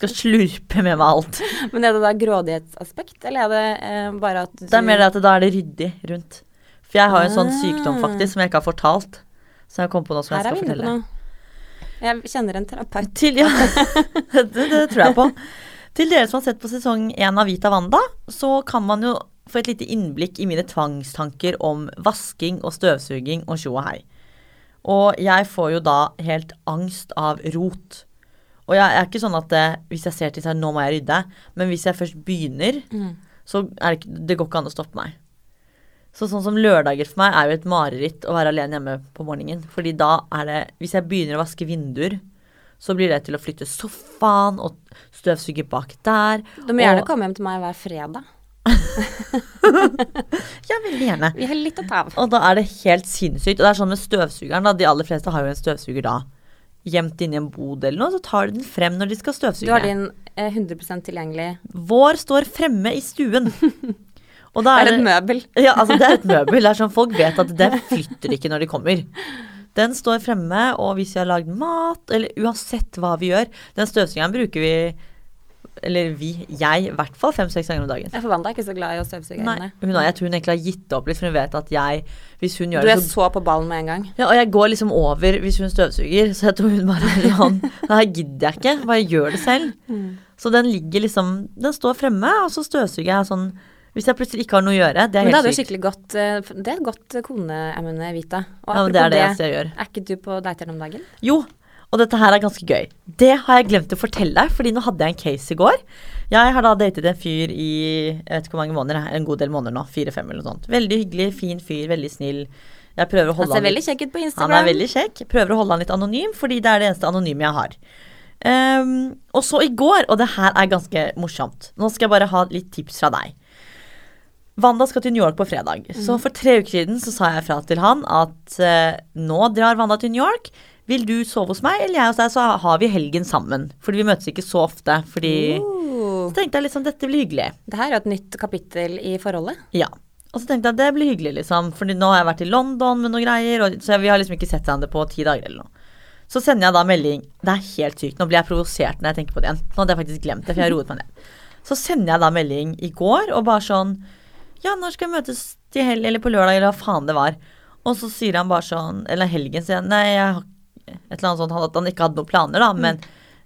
[SPEAKER 1] skal slurpe med meg alt.
[SPEAKER 2] Men er det da grådighetsaspekt, eller er det eh, bare at du
[SPEAKER 1] Det er mer det at da er det ryddig rundt. For jeg har jo en sånn sykdom faktisk som jeg ikke har fortalt. Så jeg kom på noe som jeg
[SPEAKER 2] Ah. Her er
[SPEAKER 1] skal
[SPEAKER 2] vi
[SPEAKER 1] fortelle.
[SPEAKER 2] inne på noe. Jeg kjenner en terapeut.
[SPEAKER 1] Til, ja, det, det tror jeg på. Til dere som har sett på sesong én av Vita Wanda, så kan man jo få et lite innblikk i mine tvangstanker om vasking og støvsuging og tjo og hei. Og jeg får jo da helt angst av rot. Og jeg er ikke sånn at eh, hvis jeg ser til seg, nå må jeg rydde. Men hvis jeg først begynner, så er det, ikke, det går ikke an å stoppe meg. Så sånn som lørdager for meg er jo et mareritt å være alene hjemme på morgenen. Fordi da er det Hvis jeg begynner å vaske vinduer, så blir det til å flytte sofaen og støvsuge bak der.
[SPEAKER 2] Du må gjerne
[SPEAKER 1] og,
[SPEAKER 2] komme hjem til meg hver fredag.
[SPEAKER 1] Ja, veldig gjerne.
[SPEAKER 2] Vi har litt å ta av.
[SPEAKER 1] Og da er det helt sinnssykt. Og det er sånn med støvsugeren, da. De aller fleste har jo en støvsuger da. Gjemt inni en bod eller noe, så tar de den frem når de skal
[SPEAKER 2] Du
[SPEAKER 1] støvsuge.
[SPEAKER 2] har din eh, 100 tilgjengelig
[SPEAKER 1] Vår står fremme i
[SPEAKER 2] <laughs>
[SPEAKER 1] stuen. Og da
[SPEAKER 2] Er det et møbel?
[SPEAKER 1] Ja, altså det er et møbel. Det er sånn Folk vet at den flytter ikke når de kommer. Den står fremme, og hvis vi har lagd mat, eller uansett hva vi gjør Den støvsugeren bruker vi, eller vi, jeg, i hvert fall fem-seks ganger om dagen.
[SPEAKER 2] Jeg forvandla ikke så glad i å støvsuge
[SPEAKER 1] Nei,
[SPEAKER 2] henne.
[SPEAKER 1] hun har, jeg tror hun egentlig har gitt opp litt, for hun vet at jeg Hvis hun
[SPEAKER 2] Du
[SPEAKER 1] gjør det,
[SPEAKER 2] er
[SPEAKER 1] så
[SPEAKER 2] så på ballen med en gang.
[SPEAKER 1] ja, og jeg går liksom over hvis hun støvsuger, så jeg tror hun bare er sånn <laughs> Nei, her gidder jeg ikke. Bare gjør det selv.
[SPEAKER 2] Mm.
[SPEAKER 1] Så den ligger liksom Den står fremme, og så støvsuger jeg sånn Hvis jeg plutselig ikke har noe å gjøre. Det er
[SPEAKER 2] Men det
[SPEAKER 1] helt
[SPEAKER 2] er jo
[SPEAKER 1] sykt.
[SPEAKER 2] skikkelig godt eh, f- Det er et godt eh, koneemne, Vita. Og
[SPEAKER 1] Ja, men det
[SPEAKER 2] apropos
[SPEAKER 1] er det eneste jeg gjør.
[SPEAKER 2] Er ikke du på dateren om dagen?
[SPEAKER 1] Jo, og dette her er ganske gøy. Det har jeg glemt å fortelle deg, fordi nå hadde jeg en case i går. Jeg har da datet en fyr i jeg vet ikke hvor mange måneder, en god del måneder nå. Fire-fem eller noe sånt. Veldig hyggelig, fin fyr, veldig snill. Jeg prøver å
[SPEAKER 2] Han
[SPEAKER 1] holde
[SPEAKER 2] ser
[SPEAKER 1] han
[SPEAKER 2] veldig kjekk ut på Instagram.
[SPEAKER 1] han er veldig kjekk. Prøver å holde han litt anonym, fordi det er det eneste anonyme jeg har. Ehm, og så i går, og det her er ganske morsomt. Nå skal jeg bare ha litt tips fra deg. Wanda skal til New York på fredag. Så for tre uker siden så sa jeg fra til han at eh, nå drar Wanda til New York. Vil du sove hos meg, eller jeg hos deg, så har vi helgen sammen. Fordi vi møtes ikke så ofte. Fordi
[SPEAKER 2] Oh.
[SPEAKER 1] Så tenkte jeg liksom, dette blir hyggelig.
[SPEAKER 2] Det her er jo et nytt kapittel i forholdet.
[SPEAKER 1] Ja. Og så tenkte jeg at det blir hyggelig, liksom. For nå har jeg vært i London med noen greier, og, så vi har liksom ikke sett hverandre på ti dager eller noe. Så sender jeg da melding. Det er helt sykt. Nå blir jeg provosert når jeg tenker på det igjen. Nå hadde jeg faktisk glemt det, for jeg har roet meg ned. Så sender jeg da melding i går og bare sånn Ja, når skal vi møtes til helg, eller på lørdag, eller hva faen det var? Og så sier han bare sånn Eller helgen sier han nei, jeg har et eller annet sånt han- at han ikke hadde noen planer, da, men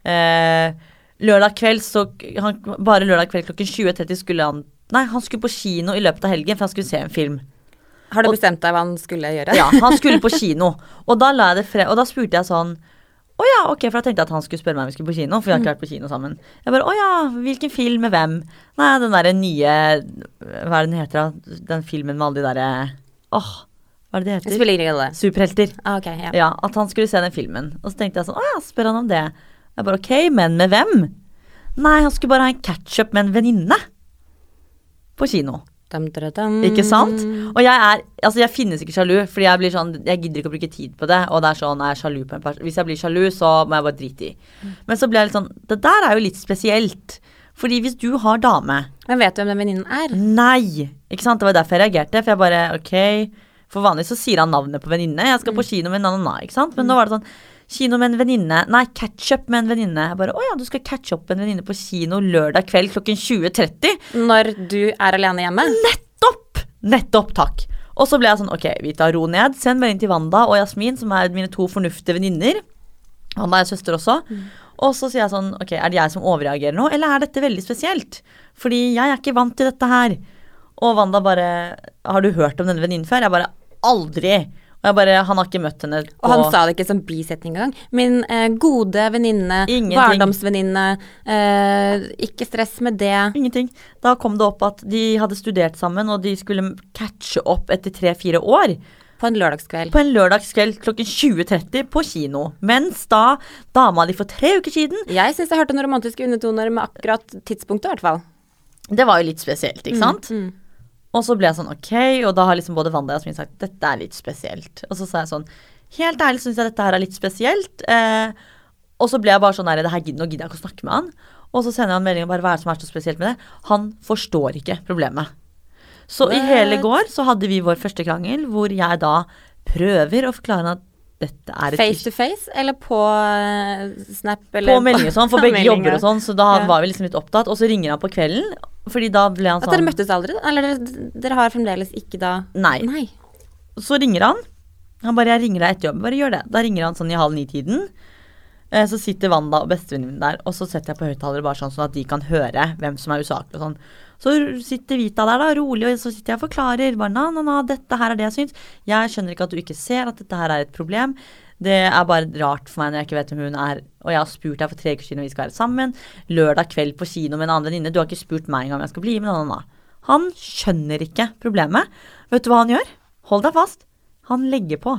[SPEAKER 1] eh, lørdag kveld så han, Bare lørdag kveld klokken 20.30 skulle han Nei, han skulle på kino i løpet av helgen, for han skulle se en film.
[SPEAKER 2] Har du
[SPEAKER 1] Og-
[SPEAKER 2] bestemt deg hva han skulle gjøre?
[SPEAKER 1] <laughs> Ja, han skulle på kino. Og da, la jeg det fre og da spurte jeg sånn Å ja, ok, for da tenkte jeg at han skulle spørre meg om vi skulle på kino. For vi har ikke vært på kino sammen. Jeg bare Å ja, hvilken film med hvem? Nei, den derre nye Hva er det den heter, da? Den filmen med alle de derre Åh, hva er det
[SPEAKER 2] Det
[SPEAKER 1] det heter?
[SPEAKER 2] spiller ingen rolle.
[SPEAKER 1] Superhelter.
[SPEAKER 2] Ah, ok, ja.
[SPEAKER 1] Ja, at han skulle se den filmen. Og så tenkte jeg sånn, å ja, spør han om det. Jeg bare, ok, men med hvem? Nei, han skulle bare ha en catch-up med en venninne. På kino.
[SPEAKER 2] Dum, dum, dum.
[SPEAKER 1] Ikke sant? Og jeg er, altså jeg finnes ikke sjalu, fordi jeg blir sånn, jeg gidder ikke å bruke tid på det. Og det er sånn, er jeg sjalu på en person? Hvis jeg blir sjalu, så må jeg bare drite i. Men så ble jeg litt sånn, det der er jo litt spesielt. Fordi hvis du har dame,
[SPEAKER 2] Men vet du hvem den venninnen er?
[SPEAKER 1] Nei! Ikke sant? Det var derfor jeg reagerte. For jeg bare ok. For vanlig så sier han navnet på venninne. Jeg skal på kino med en na-na-na. ikke sant? Men nå var det sånn kino med en venninne. Nei, catch-up med en venninne. Jeg bare å ja, du skal catch-up med en venninne på kino lørdag kveld klokken 20.30.
[SPEAKER 2] Når du er alene hjemme?
[SPEAKER 1] Nettopp! Nettopp, takk. Og så ble jeg sånn, ok, vi tar ro ned. Send melding til Wanda og Jasmin, som er mine to fornuftige venninner. Wanda er søster også.
[SPEAKER 2] Mm.
[SPEAKER 1] Og så sier jeg sånn, ok, er det jeg som overreagerer nå, eller er dette veldig spesielt? Fordi jeg er ikke vant til dette her. Og Wanda bare, har du hørt om denne venninnen før? Jeg bare, aldri. Og jeg bare, han har ikke møtt henne.
[SPEAKER 2] Og han sa det ikke som bisetning engang. Min eh, gode venninne,
[SPEAKER 1] Ingenting.
[SPEAKER 2] barndomsvenninne, eh, ikke stress med det.
[SPEAKER 1] Ingenting. Da kom det opp at de hadde studert sammen, og de skulle catche opp etter tre-fire år.
[SPEAKER 2] På en lørdagskveld.
[SPEAKER 1] på en lørdagskveld klokken 20.30 på kino. Mens da dama di for tre uker siden
[SPEAKER 2] Jeg syns jeg hørte noen romantiske undertoner med akkurat tidspunktet, i hvert fall.
[SPEAKER 1] Det var jo litt spesielt, ikke sant?
[SPEAKER 2] mm.
[SPEAKER 1] Og så ble jeg sånn ok, og da har liksom både Wanda og Jasmin sagt dette er litt spesielt. Og så sa jeg sånn helt ærlig syns jeg dette her er litt spesielt. Eh, og så ble jeg bare sånn her, det her gidder, nå gidder jeg ikke å snakke med han. Og så sender han melding og bare hva er det som er så spesielt med det? Han forstår ikke problemet. Så i hele går så hadde vi vår første krangel hvor jeg da prøver å forklare han at dette er et
[SPEAKER 2] Face to face, eller på eh, Snap eller
[SPEAKER 1] på melding og sånn,
[SPEAKER 2] <laughs>
[SPEAKER 1] for begge
[SPEAKER 2] meldinger.
[SPEAKER 1] jobber og sånn, så da
[SPEAKER 2] Ja.
[SPEAKER 1] var vi liksom litt opptatt. Og så ringer han på kvelden, fordi da ble han
[SPEAKER 2] At dere
[SPEAKER 1] sånn
[SPEAKER 2] møttes aldri? da? Eller dere, dere har fremdeles ikke da
[SPEAKER 1] Nei.
[SPEAKER 2] Nei.
[SPEAKER 1] Så ringer han. Han bare 'Jeg ringer deg etter jobb'. Bare gjør det. Da ringer han sånn i halv ni-tiden. Eh, Så sitter Wanda og bestevenninnen min der, og så setter jeg på høyttalere bare sånn sånn at de kan høre hvem som er usaklig og sånn. Så sitter Vita der da, rolig, og så sitter jeg og forklarer. Bare na, na, na, dette her er det jeg syns. Jeg skjønner ikke at du ikke ser at dette her er et problem. Det er bare rart for meg når jeg ikke vet hvem hun er. Og jeg har spurt deg for tre uker siden om vi skal være sammen. Lørdag kveld på kino med en annen venninne. Du har ikke spurt meg engang om jeg skal bli med. Na, na, na. Han skjønner ikke problemet. Vet du hva han gjør? Hold deg fast. Han legger på.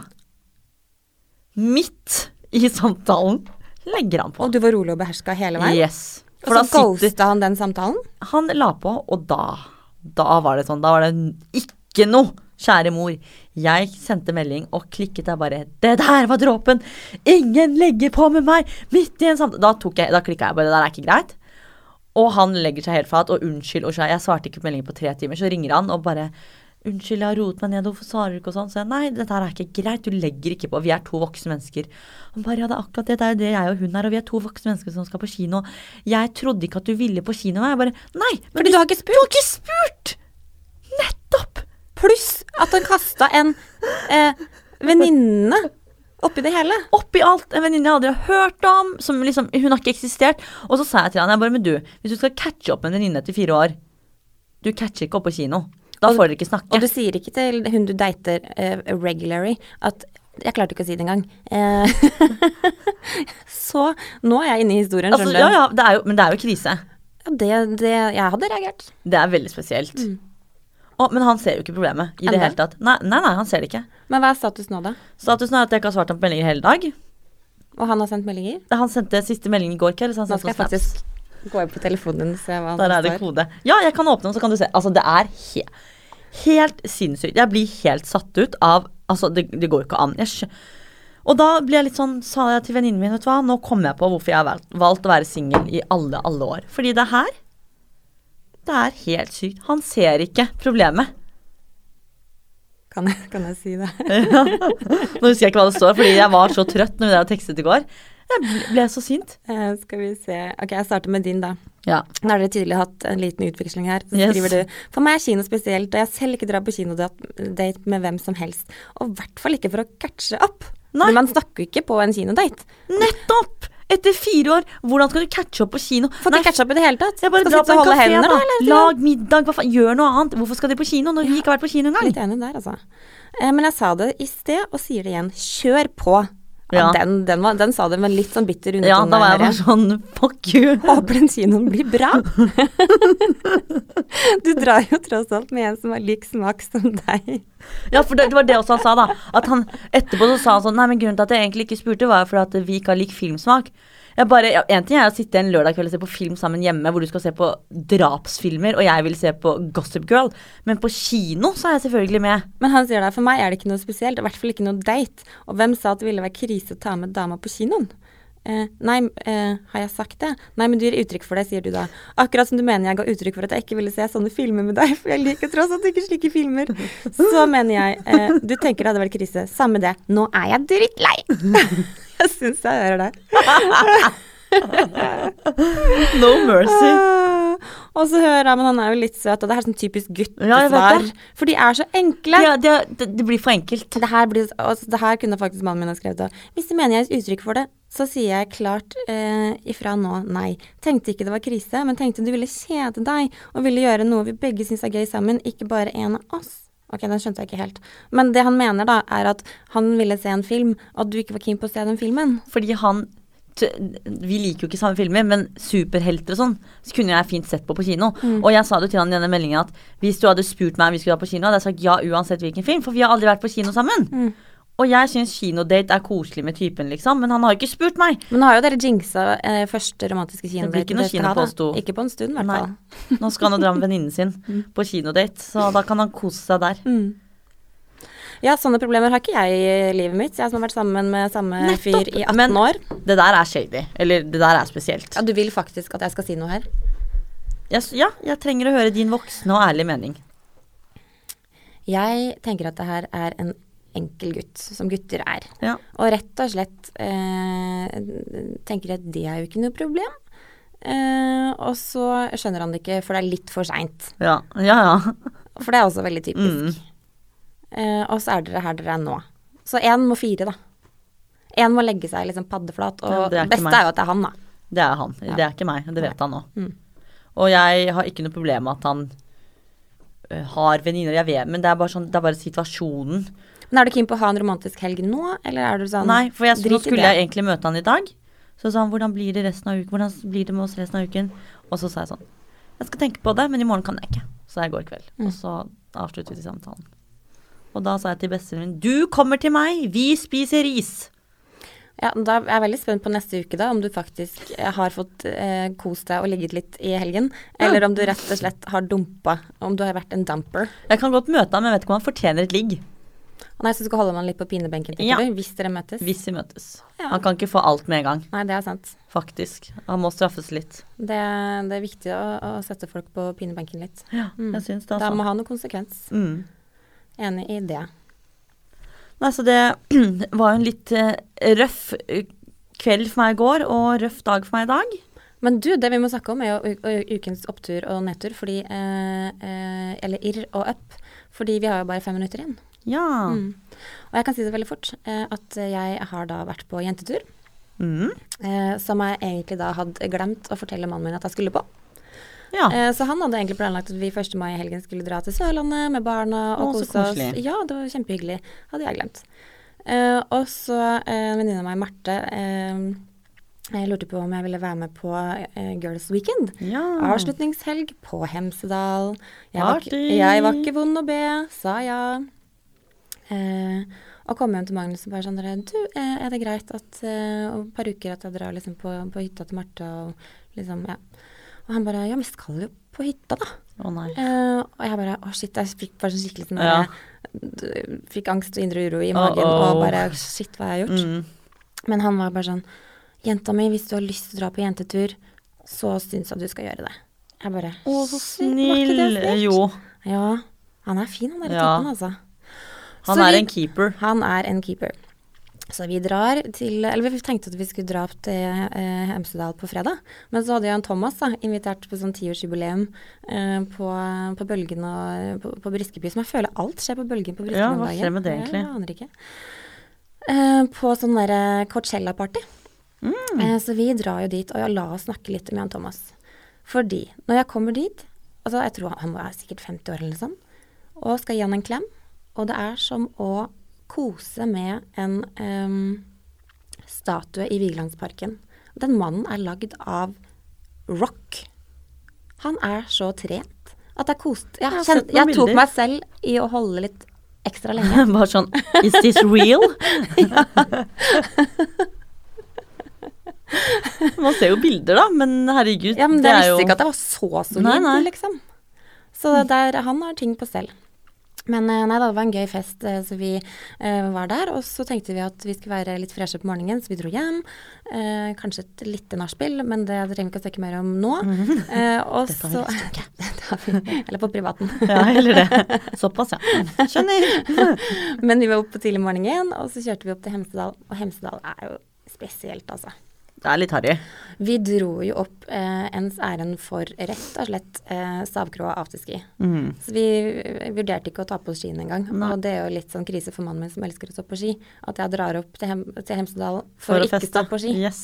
[SPEAKER 1] Midt i samtalen legger han på.
[SPEAKER 2] Og du var rolig og beherska hele veien?
[SPEAKER 1] Yes.
[SPEAKER 2] Og sånn så ghosta han den samtalen?
[SPEAKER 1] Han la på, og da, da var det sånn. Da var det n- ikke noe. Kjære mor, jeg sendte melding og klikket der bare Det der var dråpen! Ingen legger på med meg! Midt i en samtale Da, tok jeg- da klikka jeg bare. Det der er ikke greit. Og han legger seg helt flat og unnskyld. Og så- jeg svarte ikke på meldingen på tre timer. Så ringer han og bare Unnskyld, jeg har roet meg ned. Hvorfor svarer du ikke? Og sånn. Så jeg nei, dette her er ikke greit. Du legger ikke på. Vi er to voksne mennesker. Han bare ja, det er akkurat det. Det er jo det jeg og hun er. Og vi er to voksne mennesker som skal på kino. Jeg trodde ikke at du ville på kino. Jeg bare nei. men
[SPEAKER 2] Fordi du har ikke
[SPEAKER 1] Du har ikke spurt! Nettopp!
[SPEAKER 2] Pluss at han kasta en eh, venninne oppi det hele.
[SPEAKER 1] oppi alt en venninne jeg aldri har hørt om. Som liksom, hun har ikke eksistert. Og så sa jeg til han, jeg bare, men du, hvis du skal catche opp med en venninne etter fire år Du catcher ikke opp på kino. Da får dere ikke snakke.
[SPEAKER 2] Og du sier ikke til hun du dater eh, regularly at Jeg klarte ikke å si det engang. Eh, <laughs> så nå er jeg inne i historien,
[SPEAKER 1] altså,
[SPEAKER 2] skjønner
[SPEAKER 1] ja,
[SPEAKER 2] du.
[SPEAKER 1] ja, det er jo, men det er jo krise.
[SPEAKER 2] Ja, Det, det, jeg hadde reagert.
[SPEAKER 1] Det er veldig spesielt. Å, men han ser jo ikke problemet i det
[SPEAKER 2] Mm. Enda.
[SPEAKER 1] hele tatt. Nei, nei, nei, han ser det ikke.
[SPEAKER 2] Men hva er status nå, da?
[SPEAKER 1] Statusen er at jeg ikke har svart ham på meldinger i hele dag.
[SPEAKER 2] Og han har sendt meldinger?
[SPEAKER 1] Han sendte siste melding i går kveld. Så han
[SPEAKER 2] Nå
[SPEAKER 1] sendte
[SPEAKER 2] skal jeg
[SPEAKER 1] noen snaps.
[SPEAKER 2] faktisk gå inn på telefonen din og se hva
[SPEAKER 1] Der er det kode. Ja, jeg kan åpne den, så kan du se. Altså, det er he helt sinnssykt. Jeg blir helt satt ut av Altså, det, det går jo ikke an. Jeg skjø og da ble jeg litt sånn, sa jeg til venninnen min, vet du hva, nå kommer jeg på hvorfor jeg har valgt, valgt å være singel i alle, alle år. Fordi det her, det er helt sykt. Han ser ikke problemet. <laughs>
[SPEAKER 2] Kan jeg, kan jeg si det? <laughs>
[SPEAKER 1] Nå husker jeg ikke hva det står, fordi jeg var så trøtt når vi drev og tekstet i går. Jeg ble- ble så sint.
[SPEAKER 2] Eh, skal vi se Ok, jeg starter med din, da.
[SPEAKER 1] Ja.
[SPEAKER 2] Nå har dere tydelig hatt en liten utveksling her. Så
[SPEAKER 1] Yes.
[SPEAKER 2] skriver du For meg er kino spesielt, og jeg selv ikke drar på kinodate med hvem som helst. Og i hvert fall ikke for å catche opp.
[SPEAKER 1] Nei.
[SPEAKER 2] Men man snakker jo ikke på en kinodate.
[SPEAKER 1] Nettopp! Etter fire år, hvordan skal du catche opp på kino?
[SPEAKER 2] Får ikke catch up i det hele tatt.
[SPEAKER 1] jeg bare
[SPEAKER 2] Skal
[SPEAKER 1] dra på
[SPEAKER 2] sitte
[SPEAKER 1] en
[SPEAKER 2] og holde
[SPEAKER 1] kafé,
[SPEAKER 2] hender,
[SPEAKER 1] da.
[SPEAKER 2] da, eller?
[SPEAKER 1] Lag middag, hva faen. Gjør noe annet. Hvorfor skal de på kino når vi ikke har vært på kino engang?
[SPEAKER 2] Litt enig der, altså. Eh, men jeg sa det i sted, og sier det igjen. Kjør på! Ja,
[SPEAKER 1] Ja.
[SPEAKER 2] Den, den, var, den sa det med litt sånn bitter
[SPEAKER 1] Ja,
[SPEAKER 2] undertone.
[SPEAKER 1] da var jeg
[SPEAKER 2] der.
[SPEAKER 1] bare sånn fuck you.
[SPEAKER 2] <laughs> Håper den kinoen blir bra. <laughs> du drar jo tross alt med en som har lik smak som deg.
[SPEAKER 1] <laughs> Ja, for det, det var det også han sa, da. At han etterpå så sa han sånn Nei, men grunnen til at jeg egentlig ikke spurte, var jo fordi at vi ikke har lik filmsmak. Jeg bare, ja, en ting er å sitte en lørdag kveld og se på film sammen hjemme, hvor du skal se på drapsfilmer, og jeg vil se på Gossip Girl. Men på kino så er jeg selvfølgelig med.
[SPEAKER 2] Men han sier da for meg er det ikke noe spesielt, i hvert fall ikke noe date. Og hvem sa at det ville være krise å ta med dama på kinoen? Eh, nei, eh, har jeg sagt det? Nei, men du gir uttrykk for det, sier du da. Akkurat som du mener jeg ga uttrykk for at jeg ikke ville se sånne filmer med deg, for jeg liker tross alt ikke slike filmer. Så mener jeg eh, Du tenker det hadde vært krise. Samme det. Nå er jeg drittlei! <laughs> jeg syns jeg hører det.
[SPEAKER 1] No mercy.
[SPEAKER 2] Ah, Og så hører jeg, men han er jo litt søt, og det er sånn typisk
[SPEAKER 1] Ja, jeg vet
[SPEAKER 2] guttesvar.
[SPEAKER 1] det.
[SPEAKER 2] for de er så enkle.
[SPEAKER 1] Ja, det, det, det blir for enkelt.
[SPEAKER 2] Det her, blir, altså, det her kunne faktisk mannen min ha skrevet. også. Hvis du mener jeg har et uttrykk for det, så sier jeg klart eh, ifra nå nei. Tenkte ikke det var krise, men tenkte du ville kjede deg og ville gjøre noe vi begge syns er gøy sammen, ikke bare en av oss. Ok, den skjønte jeg ikke helt. Men det han mener da, er at han ville se en film, og at du ikke var keen på å se den filmen.
[SPEAKER 1] Fordi han t Vi liker jo ikke samme filmer, men superhelter og sånn Så kunne jeg fint sett på på kino. Og jeg sa det jo til han i denne meldingen at hvis du hadde spurt meg om vi skulle dra på kino, hadde jeg sagt ja uansett hvilken film, for vi har aldri vært på kino sammen. Og jeg syns kinodate er koselig med typen, liksom, men han har jo ikke spurt meg.
[SPEAKER 2] Men nå har jo dere jinxa eh, første romantiske
[SPEAKER 1] Det
[SPEAKER 2] kinodate.
[SPEAKER 1] blir ikke noe
[SPEAKER 2] dere skal
[SPEAKER 1] kino
[SPEAKER 2] ha, da.
[SPEAKER 1] påsto-
[SPEAKER 2] Ikke på en stund, i hvert
[SPEAKER 1] Nei.
[SPEAKER 2] fall.
[SPEAKER 1] Nå skal han jo dra med venninnen sin på kinodate, så da kan han kose seg der.
[SPEAKER 2] Ja, sånne problemer har ikke jeg i livet mitt. Jeg som har vært sammen med samme fyr i 18
[SPEAKER 1] Men
[SPEAKER 2] år.
[SPEAKER 1] det der er shady. Eller det der er spesielt.
[SPEAKER 2] Ja, du vil faktisk at jeg skal si noe her?
[SPEAKER 1] Jeg, s- ja, jeg trenger å høre din voksne og ærlige mening.
[SPEAKER 2] Jeg tenker at det her er en enkel gutt, som gutter er.
[SPEAKER 1] Ja.
[SPEAKER 2] Og rett og slett eh, tenker at det er jo ikke noe problem. Eh, og så skjønner han det ikke, for det er litt for seint.
[SPEAKER 1] Ja, ja. ja.
[SPEAKER 2] For det er også veldig typisk.
[SPEAKER 1] Mm.
[SPEAKER 2] Eh, og så er dere her dere er nå. Så én må fire, da. Én må legge seg liksom paddeflat. Og
[SPEAKER 1] Ja, det er
[SPEAKER 2] det
[SPEAKER 1] ikke
[SPEAKER 2] beste
[SPEAKER 1] meg.
[SPEAKER 2] er jo at det er han, da.
[SPEAKER 1] Det er han.
[SPEAKER 2] Ja.
[SPEAKER 1] Det er ikke meg. Det vet han nå.
[SPEAKER 2] Mm.
[SPEAKER 1] Og jeg har ikke noe problem med at han ø, har venninner, jeg vet, men det er bare, sånn, det er bare situasjonen.
[SPEAKER 2] Men er du keen på å ha en romantisk helg nå, eller er du sånn
[SPEAKER 1] Nei, for jeg, nå
[SPEAKER 2] drit i
[SPEAKER 1] skulle
[SPEAKER 2] det.
[SPEAKER 1] jeg egentlig møte han i dag. Så sa han hvordan blir det resten av uken? Hvordan blir det med oss resten av uken? Og så sa jeg sånn Jeg skal tenke på det, men i morgen kan jeg ikke. Så jeg går i kveld.
[SPEAKER 2] Mm.
[SPEAKER 1] Og så avslutter vi samtalen. Og da sa jeg til bestevennen min Du kommer til meg! Vi spiser ris!
[SPEAKER 2] Ja, da er jeg veldig spent på neste uke, da, om du faktisk eh, har fått eh, kost deg og ligget litt i helgen, eller om du rett og slett har dumpa, om du har vært en dumper.
[SPEAKER 1] Jeg kan godt møte han, men jeg vet ikke om han fortjener et ligg.
[SPEAKER 2] Og nei, så skal holde man litt på pinebenken, tenker
[SPEAKER 1] Ja.
[SPEAKER 2] du, hvis dere møtes.
[SPEAKER 1] Hvis vi møtes.
[SPEAKER 2] Ja.
[SPEAKER 1] Han kan ikke få alt med en gang,
[SPEAKER 2] Nei, det er sant.
[SPEAKER 1] faktisk. Han må straffes litt.
[SPEAKER 2] Det, det er viktig å, å sette folk på pinebenken litt.
[SPEAKER 1] Ja, jeg syns det.
[SPEAKER 2] Mm. Da
[SPEAKER 1] Altså.
[SPEAKER 2] må ha noe konsekvens.
[SPEAKER 1] Mm.
[SPEAKER 2] Enig i det.
[SPEAKER 1] Nei, så det <clears throat> var jo en litt eh, røff eh, kveld for meg i går, og røff dag for meg i dag.
[SPEAKER 2] Men du, det vi må snakke om er jo u- u- ukens opptur og nedtur, fordi eh, eh, Eller irr og up. Fordi vi har jo bare fem minutter igjen.
[SPEAKER 1] Ja. Mm.
[SPEAKER 2] Mm. Og jeg kan si det veldig fort, eh, at jeg har da vært på jentetur.
[SPEAKER 1] Mm.
[SPEAKER 2] eh, som jeg egentlig da hadde glemt å fortelle mannen min at jeg skulle på.
[SPEAKER 1] Ja.
[SPEAKER 2] Eh, så han hadde egentlig planlagt at vi 1. mai i helgen skulle dra til Sørlandet med barna og
[SPEAKER 1] Å, så
[SPEAKER 2] kose oss.
[SPEAKER 1] koselig.
[SPEAKER 2] Ja, det var kjempehyggelig. Hadde jeg glemt. Eh, og så eh, en venninne av meg, Marte, eh, jeg lurte på om jeg ville være med på eh, Girls Weekend.
[SPEAKER 1] ja.
[SPEAKER 2] Avslutningshelg på Hemsedal. Jeg var, ikke-
[SPEAKER 1] Party!
[SPEAKER 2] jeg var ikke vond å be, sa ja. Eh, og kom hjem til Magnus og bare sånn dere, Du, eh, er det greit at eh, om et par uker at jeg drar liksom på, på hytta til Marte og liksom Ja. Og han bare Ja, vi skal jo på hytta, da.
[SPEAKER 1] Å nei.
[SPEAKER 2] Eh, og jeg bare Å, shit. Jeg fikk bare sånn skikkelig sånn
[SPEAKER 1] Ja.
[SPEAKER 2] eh, Fikk angst og indre uro i magen
[SPEAKER 1] Uh-oh.
[SPEAKER 2] og bare Shit, hva har jeg gjort?
[SPEAKER 1] Mm.
[SPEAKER 2] Men han var bare sånn Jenta mi, hvis du har lyst til å dra på jentetur, så syns jeg du skal gjøre det. Jeg bare
[SPEAKER 1] Å, så
[SPEAKER 2] «Shit, var ikke det
[SPEAKER 1] snill.
[SPEAKER 2] snilt?»
[SPEAKER 1] Jo.
[SPEAKER 2] Ja. Han er fin, han der
[SPEAKER 1] Ja.
[SPEAKER 2] typen, altså.
[SPEAKER 1] Han
[SPEAKER 2] Så
[SPEAKER 1] er
[SPEAKER 2] vi-
[SPEAKER 1] en keeper.
[SPEAKER 2] Han er en keeper. Så vi drar til Eller vi tenkte at vi skulle dra opp til eh, Hemsedal på fredag. Men så hadde jo han Thomas da, invitert på sånn tiårsjubileum eh, på, på Bølgen og på, på Briskeby. Som jeg føler alt skjer på Bølgen på Briskeby
[SPEAKER 1] Ja,
[SPEAKER 2] om
[SPEAKER 1] hva
[SPEAKER 2] dagen.
[SPEAKER 1] skjer med det egentlig?
[SPEAKER 2] Jeg aner ikke. Eh, på sånn derre eh, Coachella-party.
[SPEAKER 1] Mm.
[SPEAKER 2] Eh, Så vi drar jo dit, og jeg la oss snakke litt med Jan Thomas. Fordi når jeg kommer dit, altså jeg tror han er sikkert 50 år eller noe sånt, og skal gi han en klem, og det er som å kose med en em, statue i Vigelandsparken. Den mannen er lagd av rock. Han er så trent at det er kost.
[SPEAKER 1] Jeg
[SPEAKER 2] Jeg,
[SPEAKER 1] har
[SPEAKER 2] kjente,
[SPEAKER 1] sett noen
[SPEAKER 2] jeg tok
[SPEAKER 1] bilder.
[SPEAKER 2] meg selv i å holde litt ekstra lenge.
[SPEAKER 1] <laughs> Bare sånn Is this
[SPEAKER 2] <laughs>
[SPEAKER 1] real? <laughs> Man ser jo bilder, da, men herregud.
[SPEAKER 2] Ja, men
[SPEAKER 1] det
[SPEAKER 2] jeg
[SPEAKER 1] er
[SPEAKER 2] visste
[SPEAKER 1] jo
[SPEAKER 2] ikke at jeg var så solid,
[SPEAKER 1] Nei, nei.
[SPEAKER 2] liksom. Så der, han har ting på stell. Men eh, nei da, det var en gøy fest, eh, så vi eh, var der. Og så tenkte vi at vi skulle være litt freshe på morgenen, så vi dro hjem. Eh, kanskje et lite nachspiel, men det trenger vi ikke å snakke mer om
[SPEAKER 1] <laughs>
[SPEAKER 2] nå. Eh, og
[SPEAKER 1] Det tar vi
[SPEAKER 2] så <laughs> Det tar vi. Eller på privaten.
[SPEAKER 1] Ja, eller
[SPEAKER 2] <laughs>
[SPEAKER 1] det. Såpass, ja. Mm. Skjønner.
[SPEAKER 2] men vi var oppe tidlig om morgenen, og så kjørte vi opp til Hemsedal. Og Hemsedal er jo spesielt, altså.
[SPEAKER 1] Det er litt harry.
[SPEAKER 2] Vi dro jo opp eh, ens ærend for rett og slett eh, stavkroa afterski.
[SPEAKER 1] Mm.
[SPEAKER 2] Så vi eh, vurderte ikke å ta på oss skiene engang. Og det er jo litt sånn krise for mannen min som elsker å stå på ski, at jeg drar opp til, Hem til Hemsedal for,
[SPEAKER 1] For å
[SPEAKER 2] å ikke
[SPEAKER 1] feste.
[SPEAKER 2] stå på ski.
[SPEAKER 1] Yes.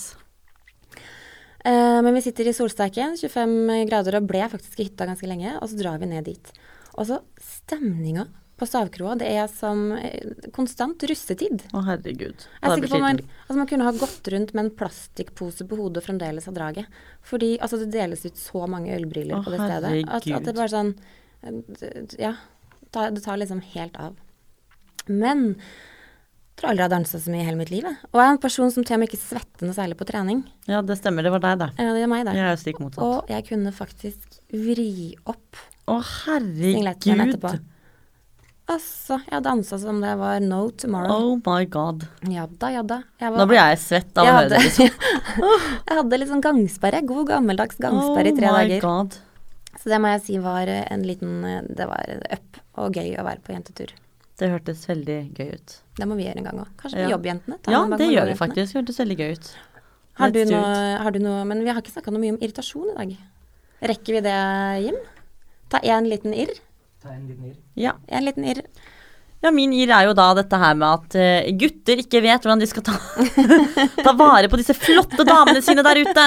[SPEAKER 2] Eh, men vi sitter i solsteiken, 25 grader, og ble faktisk i hytta ganske lenge. Og så drar vi ned dit. Og så stemninga på stavkroa, det er som eh, konstant russetid.
[SPEAKER 1] Å, herregud.
[SPEAKER 2] Jeg
[SPEAKER 1] Da
[SPEAKER 2] er
[SPEAKER 1] blir
[SPEAKER 2] sikker på at man,
[SPEAKER 1] sliten.
[SPEAKER 2] altså man kunne ha gått rundt med en plastikkpose på hodet og fremdeles ha draget. Fordi altså, det deles ut så mange ølbriller
[SPEAKER 1] Å,
[SPEAKER 2] på det stedet. At, at det
[SPEAKER 1] herregud.
[SPEAKER 2] bare er sånn eh, d- Ja. ta- Det tar liksom helt av. Men jeg tror aldri jeg har dansa så mye i hele mitt liv. jeg. Og jeg er en person som til og med ikke svetter noe særlig på trening.
[SPEAKER 1] Ja, det stemmer. Det var deg, da.
[SPEAKER 2] Eh, Det er meg, det.
[SPEAKER 1] Jeg er jo stikk motsatt.
[SPEAKER 2] Og jeg kunne faktisk vri opp
[SPEAKER 1] Å,
[SPEAKER 2] singleten etterpå.
[SPEAKER 1] herregud.
[SPEAKER 2] Altså, jeg dansa som det var no tomorrow.
[SPEAKER 1] Oh my god.
[SPEAKER 2] Ja da, ja da. Jeg
[SPEAKER 1] Nå blir jeg svett av å
[SPEAKER 2] jeg
[SPEAKER 1] høre
[SPEAKER 2] hadde,
[SPEAKER 1] det.
[SPEAKER 2] <laughs>
[SPEAKER 1] liksom.
[SPEAKER 2] jeg hadde litt sånn gangsperre. God gammeldags gangsperre i tre dager.
[SPEAKER 1] Oh god.
[SPEAKER 2] Så det må jeg si var eh, en liten eh, Det var up og gøy å være på jentetur.
[SPEAKER 1] Det hørtes veldig gøy ut.
[SPEAKER 2] Det må vi gjøre en gang òg. Kanskje
[SPEAKER 1] Ja.
[SPEAKER 2] på jobbjentene. ta
[SPEAKER 1] Ja,
[SPEAKER 2] en dag
[SPEAKER 1] det
[SPEAKER 2] med
[SPEAKER 1] gjør vi
[SPEAKER 2] jobbjentene.
[SPEAKER 1] faktisk. Det hørtes veldig gøy ut.
[SPEAKER 2] Har du,
[SPEAKER 1] Let's do
[SPEAKER 2] noe,
[SPEAKER 1] it.
[SPEAKER 2] har du noe Men vi har ikke snakka noe mye om irritasjon i dag. Rekker vi det, Jim? Ta én liten irr.
[SPEAKER 3] Ta en liten irr.
[SPEAKER 1] Ja.
[SPEAKER 2] En liten irr.
[SPEAKER 1] ja, min irr er jo da dette her med at eh, gutter ikke vet hvordan de skal ta, <laughs> ta vare på disse flotte damene sine der ute.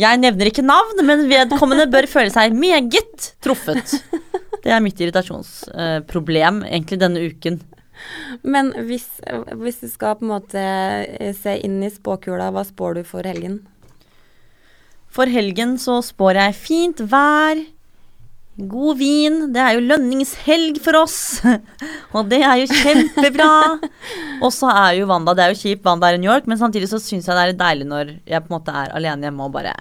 [SPEAKER 1] Jeg nevner ikke navn, men vedkommende bør føle seg meget truffet. Det er mitt irritasjonsproblem eh, egentlig denne uken.
[SPEAKER 2] Men hvis, hvis du skal på en måte eh, se inn i spåkula, hva spår du for helgen?
[SPEAKER 1] For helgen så spår jeg fint vær, god vin. Det er jo lønningshelg for oss, <laughs> og det er jo kjempebra. Og så er jo Wanda Det er jo kjipt, Wanda er i New York, men samtidig så syns jeg det er deilig når jeg på en måte er alene hjemme og bare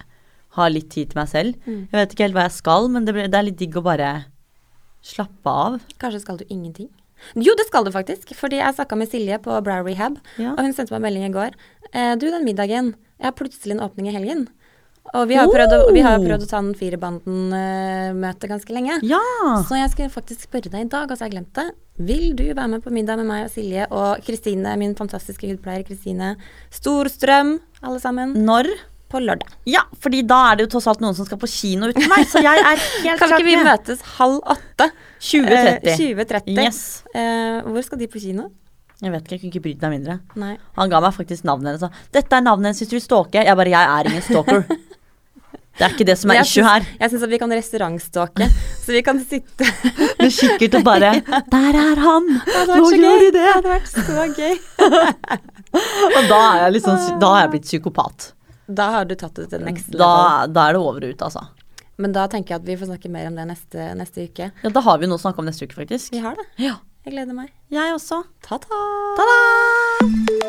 [SPEAKER 1] har litt tid til meg selv.
[SPEAKER 2] Mm.
[SPEAKER 1] Jeg vet ikke helt hva jeg skal, men det, blir- det er litt digg å bare slappe av.
[SPEAKER 2] Kanskje skal du ingenting? Jo, det skal du faktisk. Fordi jeg snakka med Silje på Brow Rehab,
[SPEAKER 1] Ja.
[SPEAKER 2] og hun sendte meg en melding i går. Eh, du, den middagen. Jeg har plutselig en åpning i helgen. Og vi har jo prøvd, å- vi har jo prøvd å ta den Firebanden-møtet ganske lenge.
[SPEAKER 1] Ja!
[SPEAKER 2] Så jeg skulle faktisk spørre deg i dag, og så har jeg glemt det. Vil du være med på middag med meg og Silje og Kristine, min fantastiske hudpleier Kristine Storstrøm, alle sammen,
[SPEAKER 1] Når?
[SPEAKER 2] på lørdag?
[SPEAKER 1] Ja, fordi da er det jo tross alt noen som skal på kino uten meg, så jeg
[SPEAKER 2] <laughs>
[SPEAKER 1] er helt
[SPEAKER 2] Kan ikke
[SPEAKER 1] klart
[SPEAKER 2] vi
[SPEAKER 1] med.
[SPEAKER 2] møtes halv åtte?
[SPEAKER 1] 20.30.
[SPEAKER 2] Eh, 20.30.
[SPEAKER 1] Yes.
[SPEAKER 2] Eh, hvor skal de på kino?
[SPEAKER 1] Jeg vet ikke, jeg kunne ikke brydd meg mindre.
[SPEAKER 2] Nei.
[SPEAKER 1] Han ga meg faktisk navnet hennes. og sa, Dette er navnet hennes hvis du vil stalke. Jeg bare, jeg er ingen stalker. Det er ikke det som er
[SPEAKER 2] Jeg
[SPEAKER 1] issue
[SPEAKER 2] syns-
[SPEAKER 1] her.
[SPEAKER 2] Jeg syns at vi kan restaurantstalke. <laughs> Så vi kan sitte
[SPEAKER 1] Men kikkert og bare Der er han!
[SPEAKER 2] hadde vært
[SPEAKER 1] Nå
[SPEAKER 2] så
[SPEAKER 1] gjør de
[SPEAKER 2] gøy.
[SPEAKER 1] det!
[SPEAKER 2] hadde vært så gøy.
[SPEAKER 1] Og da er jeg liksom Da er jeg blitt psykopat.
[SPEAKER 2] Da har du tatt det til next level.
[SPEAKER 1] Da, da er det over og ut, altså.
[SPEAKER 2] Men da tenker jeg at vi får snakke mer om det neste, neste uke.
[SPEAKER 1] Ja, da har vi noe å snakke om neste uke, faktisk.
[SPEAKER 2] Vi har det.
[SPEAKER 1] Ja.
[SPEAKER 2] Jeg gleder meg.
[SPEAKER 1] Jeg også.
[SPEAKER 2] Ta-ta.
[SPEAKER 1] Ta-da!